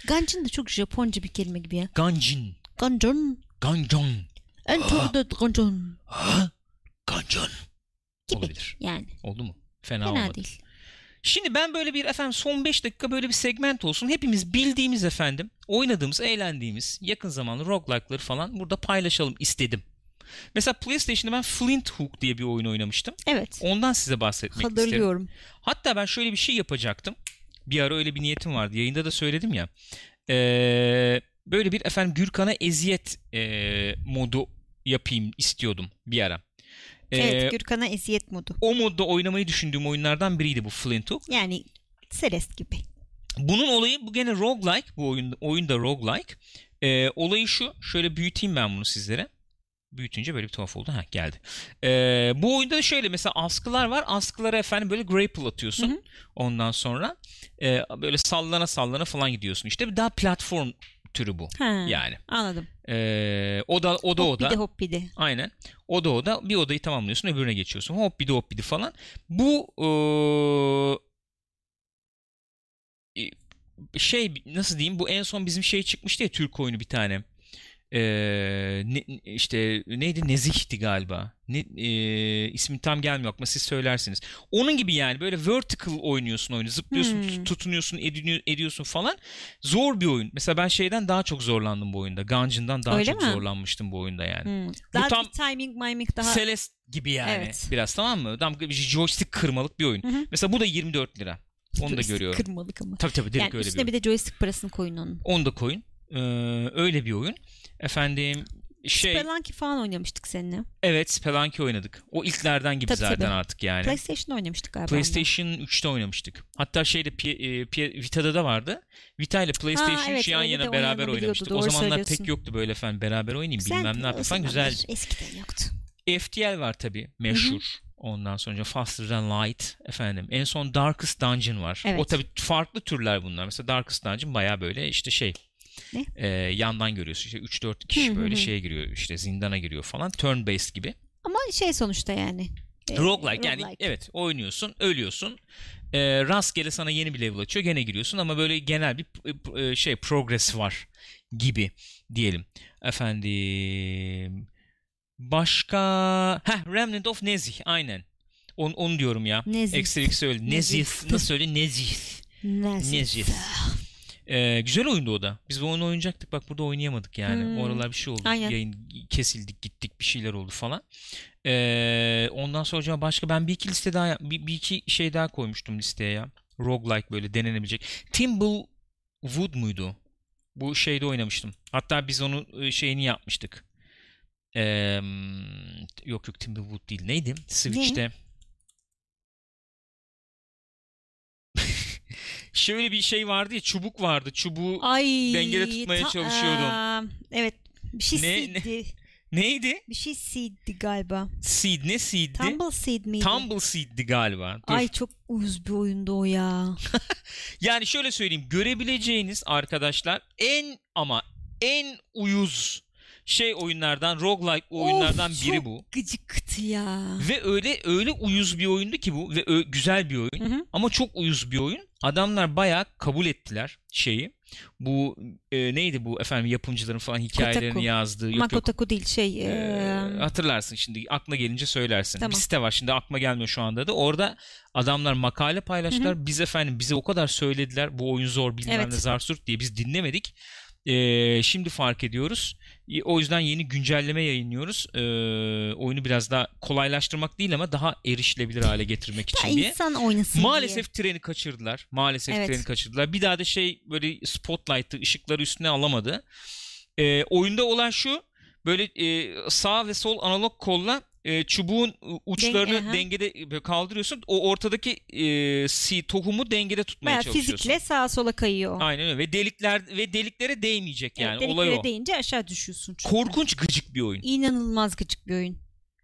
S2: Gancın da çok Japonca bir kelime gibi ya.
S1: Gungeon.
S2: Gancın.
S1: Gungeon. Ah.
S2: Enter the Gancın.
S1: Ha? Gungeon.
S2: Gibi.
S1: Olabilir.
S2: Yani
S1: Oldu mu? Fena,
S2: fena
S1: olmadı.
S2: değil.
S1: Şimdi ben böyle bir efendim son 5 dakika böyle bir segment olsun. Hepimiz bildiğimiz efendim, oynadığımız, eğlendiğimiz yakın zamanlı roguelike'ları falan burada paylaşalım istedim. Mesela PlayStation'da ben Flint Hook diye bir oyun oynamıştım.
S2: Evet.
S1: Ondan size bahsetmek isterim.
S2: Hatırlıyorum.
S1: Hatta ben şöyle bir şey yapacaktım. Bir ara öyle bir niyetim vardı. Yayında da söyledim ya. Ee, böyle bir efendim Gürkan'a eziyet ee, modu yapayım istiyordum bir ara. Ee,
S2: Evet Gürkan'a eziyet modu.
S1: O modda oynamayı düşündüğüm oyunlardan biriydi bu Flint Hook.
S2: Yani Celeste gibi.
S1: Bunun olayı bu gene roguelike bu oyunda, oyunda roguelike. Ee, olayı şu şöyle büyüteyim ben bunu sizlere. Büyütünce böyle bir tuhaf oldu. Ha geldi. Ee, bu oyunda da şöyle mesela askılar var. Askılara efendim böyle grapple atıyorsun.
S2: Hı hı.
S1: Ondan sonra e, böyle sallana sallana falan gidiyorsun. İşte bir daha platform türü bu.
S2: Ha,
S1: Yani
S2: Anladım.
S1: Ee, o da o da o da.
S2: Hoppidi hoppidi.
S1: Aynen. Oda oda bir odayı tamamlıyorsun öbürüne geçiyorsun. Hop bir de hop bir de falan. Bu eee, e, şey nasıl diyeyim bu en son bizim şey çıkmıştı ya Türk oyunu bir tane. Eee, ne, işte neydi Nezih'ti galiba. Ne, eee, ismi tam gelmiyor aklıma siz söylersiniz. Onun gibi yani böyle vertical oynuyorsun oyunu. Zıplıyorsun,
S2: Hmm.
S1: tut- tutunuyorsun, ediniyor- ediyorsun falan. Zor bir oyun. Mesela ben şeyden daha çok zorlandım bu oyunda. Gungeon'dan daha
S2: Öyle
S1: çok
S2: mi?
S1: zorlanmıştım bu oyunda yani.
S2: Hmm. Daha
S1: tam-
S2: bir timing miming daha.
S1: Celeste gibi yani
S2: Evet.
S1: biraz tamam mı? Tam bir joystick kırmalık bir oyun.
S2: Hı hı.
S1: Mesela bu da 24 lira. Onu da görüyorum.
S2: Kırmalık ama.
S1: Tabii tabii direkt
S2: Yani
S1: öyle bir
S2: üstüne
S1: oyun.
S2: bir de joystick parasını koyun onun.
S1: Onu da koyun. Ee, öyle bir oyun. Efendim şey
S2: Spelunky falan oynamıştık seninle.
S1: evet Spelunky oynadık. O ilklerden gibi
S2: Tabii,
S1: zaten
S2: tabii.
S1: artık yani.
S2: PlayStation oynamıştık galiba.
S1: PlayStation 3'te oynamıştık. Hatta şeyde P- e, P- Vita'da da vardı. Vita ile PlayStation
S2: Ha, evet,
S1: 3'ü yan
S2: öyle de
S1: yana beraber
S2: oynanabiliyordu.
S1: oynamıştık.
S2: Doğru
S1: o zamanlar
S2: söylüyorsun.
S1: pek yoktu böyle efendim beraber oynayayım
S2: Güzeldi
S1: bilmem ne
S2: o
S1: yapayım falan
S2: zamanlar.
S1: güzel.
S2: Eskiden yoktu.
S1: FTL var tabii meşhur. Ondan sonra Faster Than Light efendim. En son Darkest Dungeon var.
S2: Evet.
S1: O tabii farklı türler bunlar. Mesela Darkest Dungeon baya böyle işte şey.
S2: Ne?
S1: e, yandan görüyorsun işte 3-4 kişi
S2: Hı hı
S1: böyle
S2: hı.
S1: şeye giriyor işte zindana giriyor falan turn based gibi.
S2: Ama şey sonuçta yani. Ee,
S1: roguelike yani
S2: roguelike.
S1: evet oynuyorsun ölüyorsun E, rastgele sana yeni bir level açıyor gene giriyorsun ama böyle genel bir e, şey progress var gibi diyelim. Efendim başka Heh, Remnant of Nezih aynen. On, onu diyorum ya.
S2: Nezih.
S1: Eksilik söyle. Nezih.
S2: Nezih.
S1: Nasıl söyle? Nezih.
S2: Nezih.
S1: Nezih. E, güzel oyundu o da. Biz bu oyunu oynayacaktık. Bak burada oynayamadık yani.
S2: Hmm.
S1: O aralar bir şey oldu.
S2: Aynen.
S1: Yayın kesildik gittik bir şeyler oldu falan. E, ondan sonra acaba başka ben bir iki liste daha yap- bir, bir iki şey daha koymuştum listeye ya. Roguelike böyle denenebilecek. Timble Wood muydu? Bu şeyde oynamıştım. Hatta biz onu e, şeyini yapmıştık. E, yok yok Timberwood değil. Neydi? Switch'te. Şöyle bir şey vardı ya çubuk vardı. Çubuğu
S2: Ay.
S1: Dengede tutmaya çalışıyordum.
S2: Aa, evet. Bir şey
S1: Ne-
S2: seed'di.
S1: neydi?
S2: Bir şey seed'di galiba.
S1: Seed ne seed'di?
S2: Tumble seed miydi?
S1: Tumble Seed'di galiba. Dur.
S2: Ay çok uyuz bir oyundu o ya.
S1: Yani şöyle söyleyeyim görebileceğiniz arkadaşlar en ama en uyuz şey oyunlardan roguelike oyunlardan
S2: Of,
S1: biri
S2: çok
S1: bu.
S2: Gıcıktı ya.
S1: Ve öyle öyle uyuz bir oyundu ki bu ve ö- güzel bir oyun.
S2: Hı hı.
S1: Ama çok uyuz bir oyun. Adamlar bayağı kabul ettiler şeyi. Bu e, neydi bu efendim yapımcıların falan hikayelerini
S2: Kotaku.
S1: yazdığı. Yok yok.
S2: Makotaku değil şey.
S1: E,
S2: eee,
S1: hatırlarsın şimdi aklına gelince söylersin.
S2: Tamam.
S1: Bir site var şimdi aklıma gelmiyor şu anda da. Orada adamlar makale paylaştılar. Biz efendim bize o kadar söylediler. Bu oyun zor bilmem
S2: Evet.
S1: ne zarsurt diye biz dinlemedik. E, şimdi fark ediyoruz. E, O yüzden yeni güncelleme yayınlıyoruz. E, oyunu biraz daha kolaylaştırmak değil ama daha erişilebilir hale getirmek
S2: ya
S1: için diye.
S2: insan oynasın diye.
S1: Maalesef treni kaçırdılar. Maalesef
S2: Evet.
S1: treni kaçırdılar. Bir daha da şey böyle spotlight'ı ışıkları üstüne alamadı. Ee, oyunda olan şu böyle e, sağ ve sol analog kolla e, çubuğun e, uçlarını
S2: aha.
S1: dengede böyle kaldırıyorsun. O ortadaki e, si, tohumu dengede tutmaya
S2: Bayağı
S1: çalışıyorsun.
S2: fizikle sağa sola kayıyor.
S1: Aynen öyle. Ve delikler ve deliklere değmeyecek yani.
S2: Evet, deliklere
S1: Olay o.
S2: değince aşağı düşüyorsun. çünkü.
S1: Korkunç gıcık bir oyun.
S2: İnanılmaz gıcık bir oyun.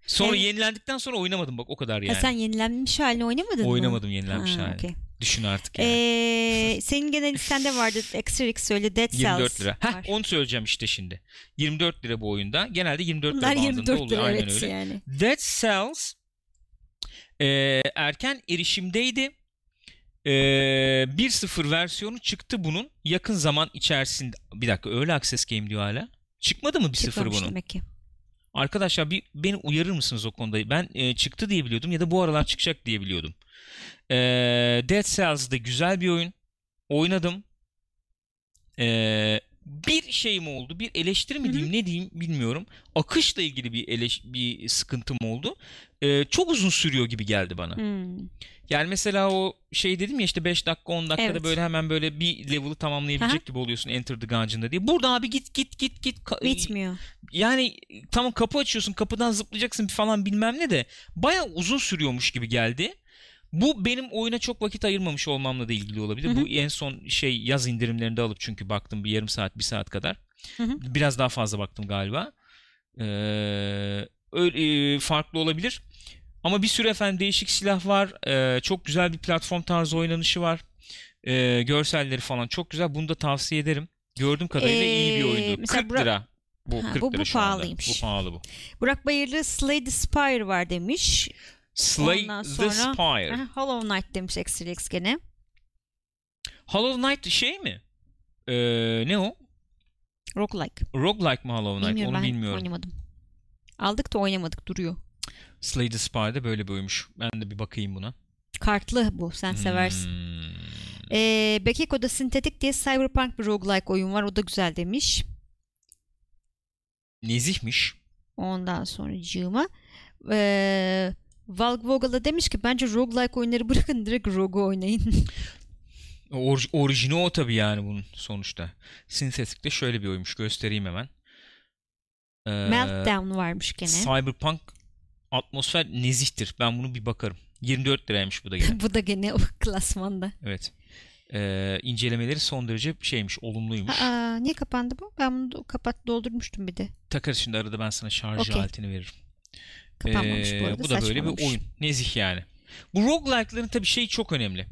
S1: Sonra
S2: Evet.
S1: yenilendikten sonra oynamadım bak o kadar yani.
S2: Ha, sen yenilenmiş halini oynamadın mı?
S1: Oynamadım yenilenmiş
S2: Ha,
S1: halini.
S2: okey.
S1: Düşün artık yani.
S2: Ee, senin genel listende vardı Extrix
S1: [laughs]
S2: öyle Dead Cells.
S1: 24 lira. Heh,
S2: var.
S1: onu söyleyeceğim işte şimdi. 24 lira bu oyunda. Genelde 24
S2: Bunlar
S1: lira bandında
S2: 24
S1: oluyor.
S2: lira
S1: Aynen
S2: evet
S1: öyle.
S2: yani.
S1: Dead Cells e, erken erişimdeydi. E, 1.0 versiyonu çıktı bunun. Yakın zaman içerisinde. Bir dakika öyle Access Game diyor hala. Çıkmadı mı 1.0
S2: Çıkmamış
S1: bunun?
S2: demek ki.
S1: Arkadaşlar bir beni uyarır mısınız o konuda? Ben e, çıktı diye biliyordum ya da bu aralar çıkacak diye biliyordum. E, Dead Cells da güzel bir oyun. Oynadım. E, bir şey mi oldu? Bir eleştiri mi diyeyim ne diyeyim bilmiyorum. Akışla ilgili bir eleş bir sıkıntım oldu. Ee, çok uzun sürüyor gibi geldi bana.
S2: Hmm.
S1: Yani mesela o şey dedim ya işte 5 dakika 10 dakikada
S2: Evet.
S1: böyle hemen böyle bir level'ı tamamlayabilecek gibi oluyorsun Enter the Gungeon'da diye. Burada abi git git git git. Ka-
S2: Bitmiyor.
S1: Yani tamam kapı açıyorsun kapıdan zıplayacaksın falan bilmem ne de baya uzun sürüyormuş gibi geldi. Bu benim oyuna çok vakit ayırmamış olmamla da ilgili olabilir.
S2: Hı hı.
S1: Bu en son şey yaz indirimlerinde alıp çünkü baktım bir yarım saat bir saat kadar.
S2: Hı hı.
S1: Biraz daha fazla baktım galiba. Ee, öyle, e, farklı olabilir. Ama bir sürü efendim değişik silah var. Ee, çok güzel bir platform tarzı oynanışı var. Ee, görselleri falan çok güzel. Bunu da tavsiye ederim. Gördüğüm kadarıyla iyi bir
S2: Ee,
S1: oyundu.
S2: mesela
S1: 40
S2: Burak-
S1: lira. Bu
S2: Ha,
S1: 40
S2: bu- bu
S1: lira şu anda.
S2: pahalıymış.
S1: Bu pahalı bu.
S2: Burak Bayırlı Slay the Spire var demiş.
S1: Slay
S2: Ondan
S1: the
S2: sonra-
S1: Spire.
S2: Aha, Hollow Knight demiş Exilix gene.
S1: Hollow Knight şey mi? Ee, ne o?
S2: Roguelike.
S1: Roguelike mı Hollow Knight?
S2: Bilmiyorum
S1: Onu
S2: ben
S1: bilmiyorum.
S2: oynamadım. Aldık da oynamadık duruyor.
S1: Slay the Spire'de böyle bir oymuş. Ben de bir bakayım buna.
S2: Kartlı bu sen seversin.
S1: Hmm.
S2: Ee, Bekeko'da Sintetik diye Cyberpunk bir roguelike oyun var o da güzel demiş.
S1: Nezihmiş.
S2: Ondan sonra cığıma. Ee, Valgvogal'a demiş ki bence roguelike oyunları [laughs] bırakın direkt rogu oynayın.
S1: Or- orijini o tabii yani bunun sonuçta. Synthetic'te şöyle bir oymuş. Göstereyim hemen. Ee,
S2: Meltdown varmış gene.
S1: Cyberpunk atmosfer nezihtir. Ben bunu bir bakarım. 24 liraymış bu da gene.
S2: [laughs] bu da gene o klasmanda.
S1: evet. Ee, incelemeleri son derece şeymiş, olumluymuş.
S2: Aa, niye kapandı bu? Ben bunu do- kapat doldurmuştum bir de.
S1: Takarız şimdi arada ben sana şarj
S2: Okey.
S1: aletini veririm.
S2: Kapanmamış
S1: Ee,
S2: bu arada.
S1: da böyle bir
S2: saçmalamış.
S1: oyun. Nezih yani. Bu roguelike'ların tabii şey çok önemli.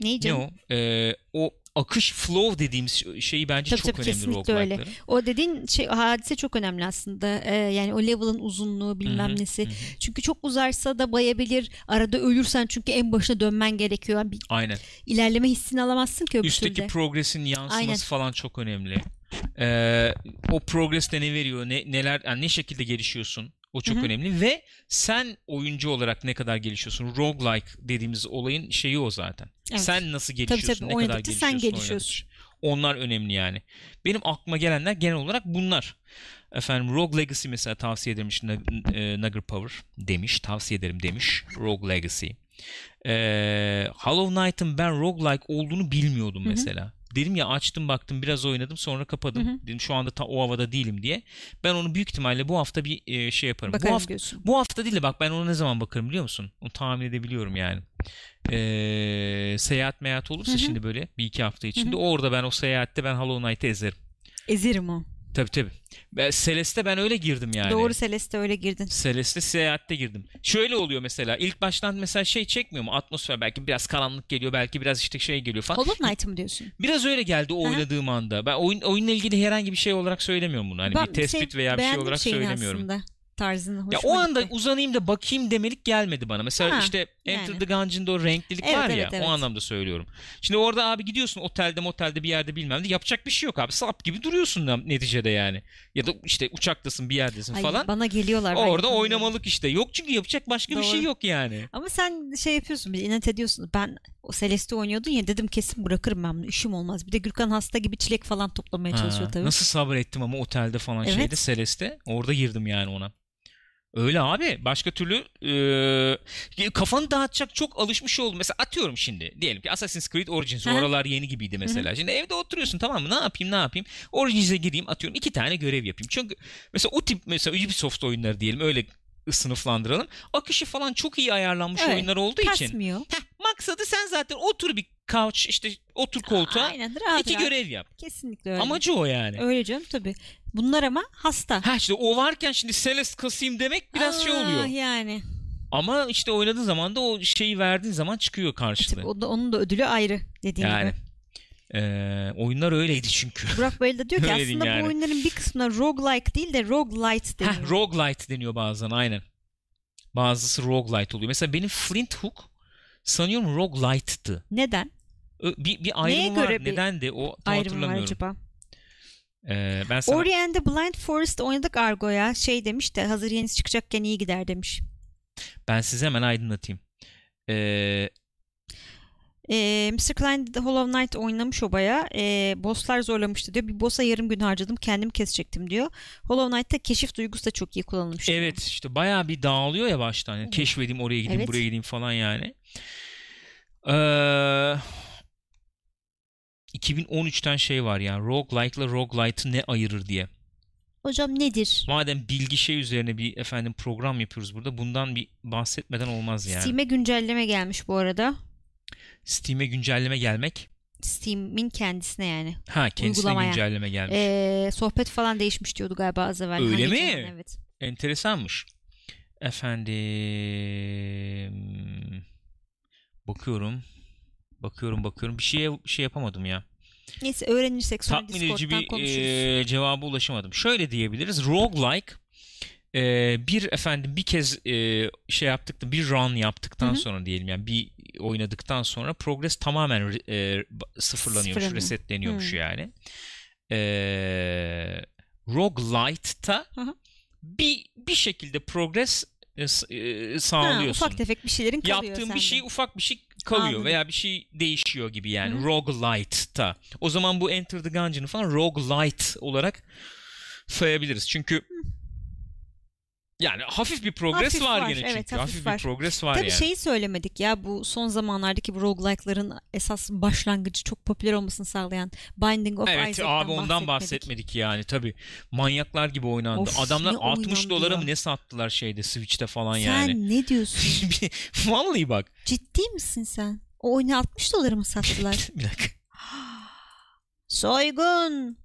S2: Neyi
S1: Ne
S2: canım?
S1: o? Ee, o akış flow dediğimiz şeyi bence
S2: Tabii
S1: çok
S2: tabii,
S1: önemli
S2: kesinlikle öyle.
S1: roguelike'ların.
S2: O dediğin şey hadise çok önemli aslında. Ee, yani o level'ın uzunluğu bilmem
S1: Hı hı,
S2: nesi.
S1: hı hı.
S2: Çünkü çok uzarsa da bayabilir. Arada ölürsen çünkü en başına dönmen gerekiyor. Yani bir
S1: Aynen.
S2: ilerleme hissini alamazsın ki öbür
S1: Üstteki
S2: türlü.
S1: progresin yansıması
S2: Aynen.
S1: falan çok önemli. Ee, o progres de ne veriyor? Ne neler yani ne şekilde gelişiyorsun? O çok
S2: Hı hı.
S1: önemli ve sen oyuncu olarak ne kadar gelişiyorsun? Roguelike dediğimiz olayın şeyi o zaten.
S2: Evet.
S1: Sen nasıl gelişiyorsun?
S2: tabii.
S1: ne kadar
S2: Oynadıkça sen
S1: gelişiyorsun?
S2: gelişiyorsun.
S1: oynadıkça. Onlar önemli yani. Benim aklıma gelenler genel olarak bunlar. Efendim Rogue Legacy mesela tavsiye edermiş Na- e, Nugger Power demiş. Tavsiye ederim demiş. Rogue Legacy. Ee, Hollow Knight'ın ben roguelike olduğunu bilmiyordum
S2: Hı hı.
S1: mesela. Dedim ya açtım baktım biraz oynadım sonra kapadım.
S2: Hı hı.
S1: Dedim şu anda ta o havada değilim diye. Ben onu büyük ihtimalle bu hafta bir e, şey yaparım.
S2: Bakarım
S1: bu hafta
S2: diyorsun.
S1: bu hafta değil de bak ben ona ne zaman bakarım biliyor musun? Onu tahmin edebiliyorum yani. Ee, seyahat meyahat olursa
S2: Hı hı.
S1: şimdi böyle bir iki hafta içinde orada ben o seyahatte ben Hollow Knight'ı ezerim.
S2: Ezerim o.
S1: Tabii tabii. Ben, Celeste ben öyle girdim yani.
S2: Doğru Celeste öyle girdin.
S1: Celeste seyahatte girdim. Şöyle oluyor mesela ilk baştan mesela şey çekmiyor mu atmosfer belki biraz karanlık geliyor belki biraz işte şey geliyor falan.
S2: Hollow Knight mı diyorsun?
S1: Biraz öyle geldi o
S2: Aha.
S1: oynadığım anda. Ben oyun oyunla ilgili herhangi bir şey olarak söylemiyorum bunu. Hani
S2: Ben
S1: bir tespit
S2: şey-
S1: veya bir şey
S2: beğendim
S1: olarak
S2: şeyini
S1: söylemiyorum.
S2: Aslında, tarzını
S1: Ya
S2: hoşuma
S1: o anda [laughs]
S2: gitti.
S1: uzanayım da bakayım demelik gelmedi bana. Mesela
S2: Ha,
S1: işte Enter
S2: yani.
S1: the Gungeon'da o renklilik
S2: Evet,
S1: var ya
S2: evet, evet.
S1: o anlamda söylüyorum. Şimdi orada abi gidiyorsun otelde motelde bir yerde bilmem ne yapacak bir şey yok abi. Sap gibi duruyorsun da neticede yani. Ya da işte uçaktasın bir yerdesin
S2: Ay,
S1: falan.
S2: Bana geliyorlar. ben
S1: Orada
S2: yapamıyorum.
S1: oynamalık işte. Yok çünkü yapacak başka
S2: Doğru.
S1: bir şey yok yani.
S2: Ama sen şey yapıyorsun bir inat ediyorsun. Ben o Celeste oynuyordun ya dedim kesin bırakırım ben bunu işim olmaz. Bir de Gürkan hasta gibi çilek falan toplamaya çalışıyor
S1: Ha,
S2: tabii.
S1: Ee, Nasıl sabrettim ama otelde falan
S2: Evet.
S1: şeyde Celeste. Orada girdim yani ona. Öyle abi. Başka türlü e, kafanı dağıtacak çok alışmış oldum. Mesela atıyorum şimdi. Diyelim ki Assassin's Creed Origins.
S2: Hı hı.
S1: Oralar yeni gibiydi mesela. Şimdi evde oturuyorsun tamam mı? Ne yapayım ne yapayım? Origins'e gireyim atıyorum. iki tane görev yapayım. Çünkü mesela o tip mesela Ubisoft oyunları diyelim öyle sınıflandıralım. Akışı falan çok iyi ayarlanmış
S2: Evet.
S1: oyunlar olduğu için.
S2: Kasmıyor.
S1: Heh, maksadı sen zaten otur bir couch işte otur koltuğa.
S2: Aynen rahat
S1: iki
S2: rahat.
S1: görev yap.
S2: Kesinlikle öyle.
S1: Amacı o yani.
S2: Öyle canım tabii. Bunlar ama hasta.
S1: Ha işte o varken şimdi Celeste kasayım demek biraz şey
S2: Aa,
S1: oluyor.
S2: Yani.
S1: Ama işte oynadığın zaman da o şeyi verdiğin zaman çıkıyor
S2: Tabii
S1: karşılığı.
S2: o da, onun da ödülü ayrı dediğin
S1: Yani.
S2: gibi.
S1: Ee, oyunlar öyleydi çünkü.
S2: Burak Bayıl da diyor ki
S1: Öyle diyeyim
S2: aslında
S1: yani.
S2: bu oyunların bir kısmına roguelike değil de roguelite deniyor.
S1: Heh, roguelite deniyor bazen aynen. Bazısı roguelite oluyor. Mesela benim Flint Hook sanıyorum roguelite'tı.
S2: Neden?
S1: Ö- Bir, bir
S2: Neye
S1: ayrımı var.
S2: göre bir
S1: Nedendi o tam
S2: Ayrım var
S1: hatırlamıyorum.
S2: acaba.
S1: Ee, ben sana
S2: Ori and the Blind Forest oynadık Argo'ya. Şey demiş de hazır yenisi çıkacakken iyi gider demiş.
S1: ben size hemen aydınlatayım. Ee,
S2: Ee, Mr. Klein The Hollow Knight oynamış o baya. Ee, bosslar zorlamıştı diyor. Bir boss'a yarım gün harcadım kendimi kesecektim diyor. Hollow Knight'ta keşif duygusu da çok iyi kullanılmış.
S1: Evet işte bayağı bir dağılıyor ya baştan. Yani keşfedeyim oraya gideyim
S2: Evet.
S1: buraya gideyim falan yani. Ee, 2013'ten şey var ya roguelike'la roguelite'ı ne ayırır diye.
S2: Hocam nedir?
S1: Madem bilgi şey üzerine bir efendim program yapıyoruz burada bundan bir bahsetmeden olmaz yani.
S2: Steam'e güncelleme gelmiş bu arada.
S1: Steam'e güncelleme gelmek.
S2: Steam'in kendisine yani.
S1: Ha kendisine
S2: Uygulamaya.
S1: güncelleme gelmiş.
S2: Ee, sohbet falan değişmiş diyordu galiba az evvel.
S1: Öyle
S2: Hani
S1: mi?
S2: Cihan, Evet.
S1: Enteresanmış. Efendim bakıyorum. Bakıyorum bakıyorum. Bir şeye şey yapamadım ya.
S2: Neyse öğrenirsek sonra
S1: Tatmin edici
S2: Discord'dan
S1: bir
S2: konuşuruz.
S1: e, cevaba ulaşamadım. Şöyle diyebiliriz. Roguelike e, bir efendim bir kez e, şey yaptık da bir run yaptıktan
S2: Hı hı.
S1: sonra diyelim yani bir oynadıktan sonra progress tamamen re- e, ba- sıfırlanıyormuş,
S2: Sıfırlanıyor.
S1: resetleniyormuş
S2: Hı.
S1: yani. E, Roguelite'ta
S2: Hı hı.
S1: bir bir şekilde progress e, s- e,
S2: Ha,
S1: sağlıyorsun.
S2: ufak tefek bir şeylerin kalıyor
S1: Yaptığın
S2: sende.
S1: bir şey ufak bir şey kalıyor
S2: Anladım.
S1: veya bir şey değişiyor gibi yani.
S2: Hı.
S1: Roguelite'ta. O zaman bu Enter the Gungeon'ı falan roguelite olarak sayabiliriz. Çünkü yani hafif bir progress
S2: Hafif
S1: var,
S2: var,
S1: gene
S2: evet,
S1: çünkü.
S2: hafif
S1: hafif,
S2: var.
S1: bir progress var
S2: Tabii
S1: yani.
S2: şey şeyi söylemedik ya bu son zamanlardaki bu roguelike'ların esas başlangıcı çok popüler olmasını sağlayan Binding of
S1: Evet
S2: Isaac'tan
S1: abi ondan
S2: bahsetmedik.
S1: bahsetmedik yani tabii. Manyaklar gibi oynandı.
S2: Of,
S1: Adamlar
S2: ne
S1: 60
S2: oynandı
S1: dolara
S2: ya.
S1: mı ne sattılar şeyde Switch'te falan
S2: Sen [laughs]
S1: yani.
S2: ne diyorsun?
S1: Vallahi bak.
S2: Ciddi misin sen? O oyunu 60 dolara mı sattılar?
S1: [laughs] bir dakika.
S2: Soygun!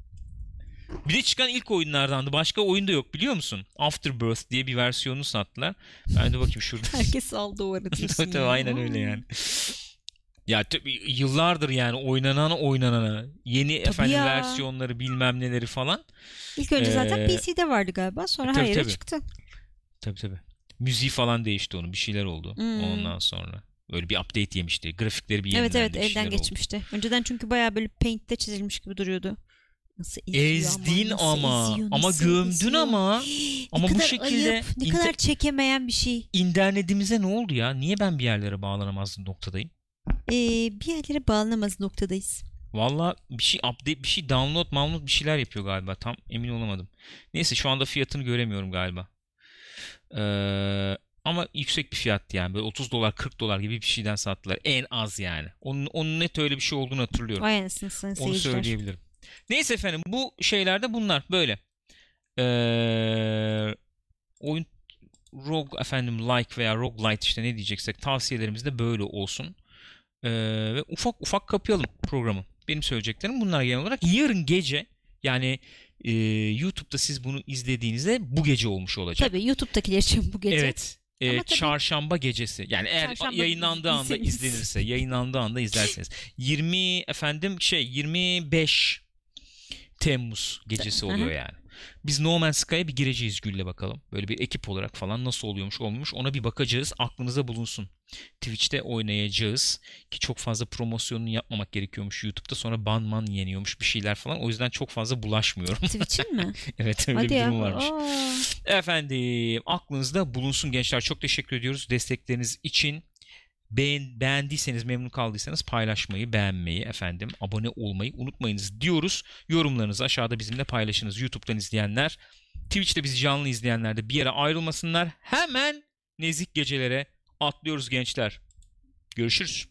S1: Bir de çıkan ilk oyunlardandı. Başka oyun da yok biliyor musun? Afterbirth diye bir versiyonunu sattılar. Ben de bakayım şurada. [laughs]
S2: Herkes aldı o arada diyorsun
S1: tabii tabii
S2: ya.
S1: aynen öyle yani. Ya tabii yıllardır yani oynanan oynanana yeni efendim
S2: ya.
S1: versiyonları bilmem neleri falan.
S2: İlk önce zaten
S1: Ee,
S2: PC'de vardı galiba sonra
S1: e, tabii,
S2: her yere
S1: tabii.
S2: çıktı.
S1: Tabii tabii. Müziği falan değişti onun bir şeyler oldu
S2: Hmm.
S1: ondan sonra. Böyle bir update yemişti. Grafikleri bir
S2: Evet
S1: yenilendi.
S2: evet
S1: bir
S2: elden
S1: şeyler oldu.
S2: geçmişti. Önceden çünkü bayağı böyle paint'te çizilmiş gibi duruyordu. Nasıl eziyor
S1: Ezdin
S2: ama.
S1: ama.
S2: Nasıl eziyor,
S1: Ama
S2: nasıl
S1: gömdün
S2: eziyor.
S1: ama.
S2: [gasps] Ne
S1: Ama bu
S2: kadar
S1: şekilde
S2: ayıp, ne
S1: inter-
S2: kadar çekemeyen bir şey.
S1: İnternetimize ne oldu ya? Niye ben bir yerlere bağlanamazdım noktadayım?
S2: Ee, bir yerlere bağlanamaz noktadayız.
S1: Valla bir şey update, bir şey download, download bir şeyler yapıyor galiba. Tam emin olamadım. Neyse şu anda fiyatını göremiyorum galiba. Ee, ama yüksek bir fiyattı yani. Böyle 30 dolar, 40 dolar gibi bir şeyden sattılar. En az yani. Onun, onun net öyle bir şey olduğunu hatırlıyorum.
S2: Vay anasını sayın
S1: Onu
S2: seyirciler.
S1: söyleyebilirim. Neyse efendim bu şeylerde bunlar böyle. Ee, oyun rogue efendim like veya roguelite işte ne diyeceksek tavsiyelerimiz de böyle olsun. Ee, ve ufak ufak kapayalım programı. Benim söyleyeceklerim bunlar genel olarak. Yarın gece yani e, YouTube'da siz bunu izlediğinizde bu gece olmuş olacak.
S2: Tabii YouTube'dakiler için bu gece.
S1: Evet. e,
S2: Ama tabii-
S1: çarşamba gecesi. Yani eğer
S2: Çarşamba
S1: yayınlandığı anda
S2: izleriz. [laughs]
S1: izlenirse, yayınlandığı anda izlerseniz. 20 efendim şey 25 Temmuz gecesi
S2: Hı hı.
S1: oluyor yani. Biz No Man's Sky'a bir gireceğiz Gül'le bakalım. Böyle bir ekip olarak falan nasıl oluyormuş olmuş ona bir bakacağız. Aklınıza bulunsun. Twitch'te oynayacağız. Ki çok fazla promosyonunu yapmamak gerekiyormuş YouTube'da. Sonra banman yeniyormuş bir şeyler falan. O yüzden çok fazla bulaşmıyorum. [laughs]
S2: Twitch'in mi?
S1: evet öyle
S2: Hadi
S1: bir
S2: ya.
S1: durum varmış.
S2: Aa.
S1: Efendim aklınızda bulunsun gençler. Çok teşekkür ediyoruz destekleriniz için. Beğen, beğendiyseniz, memnun kaldıysanız paylaşmayı, beğenmeyi, efendim abone olmayı unutmayınız diyoruz. Yorumlarınızı aşağıda bizimle paylaşınız. YouTube'dan izleyenler, Twitch'te bizi canlı izleyenler de bir yere ayrılmasınlar. Hemen nezik gecelere atlıyoruz gençler. Görüşürüz.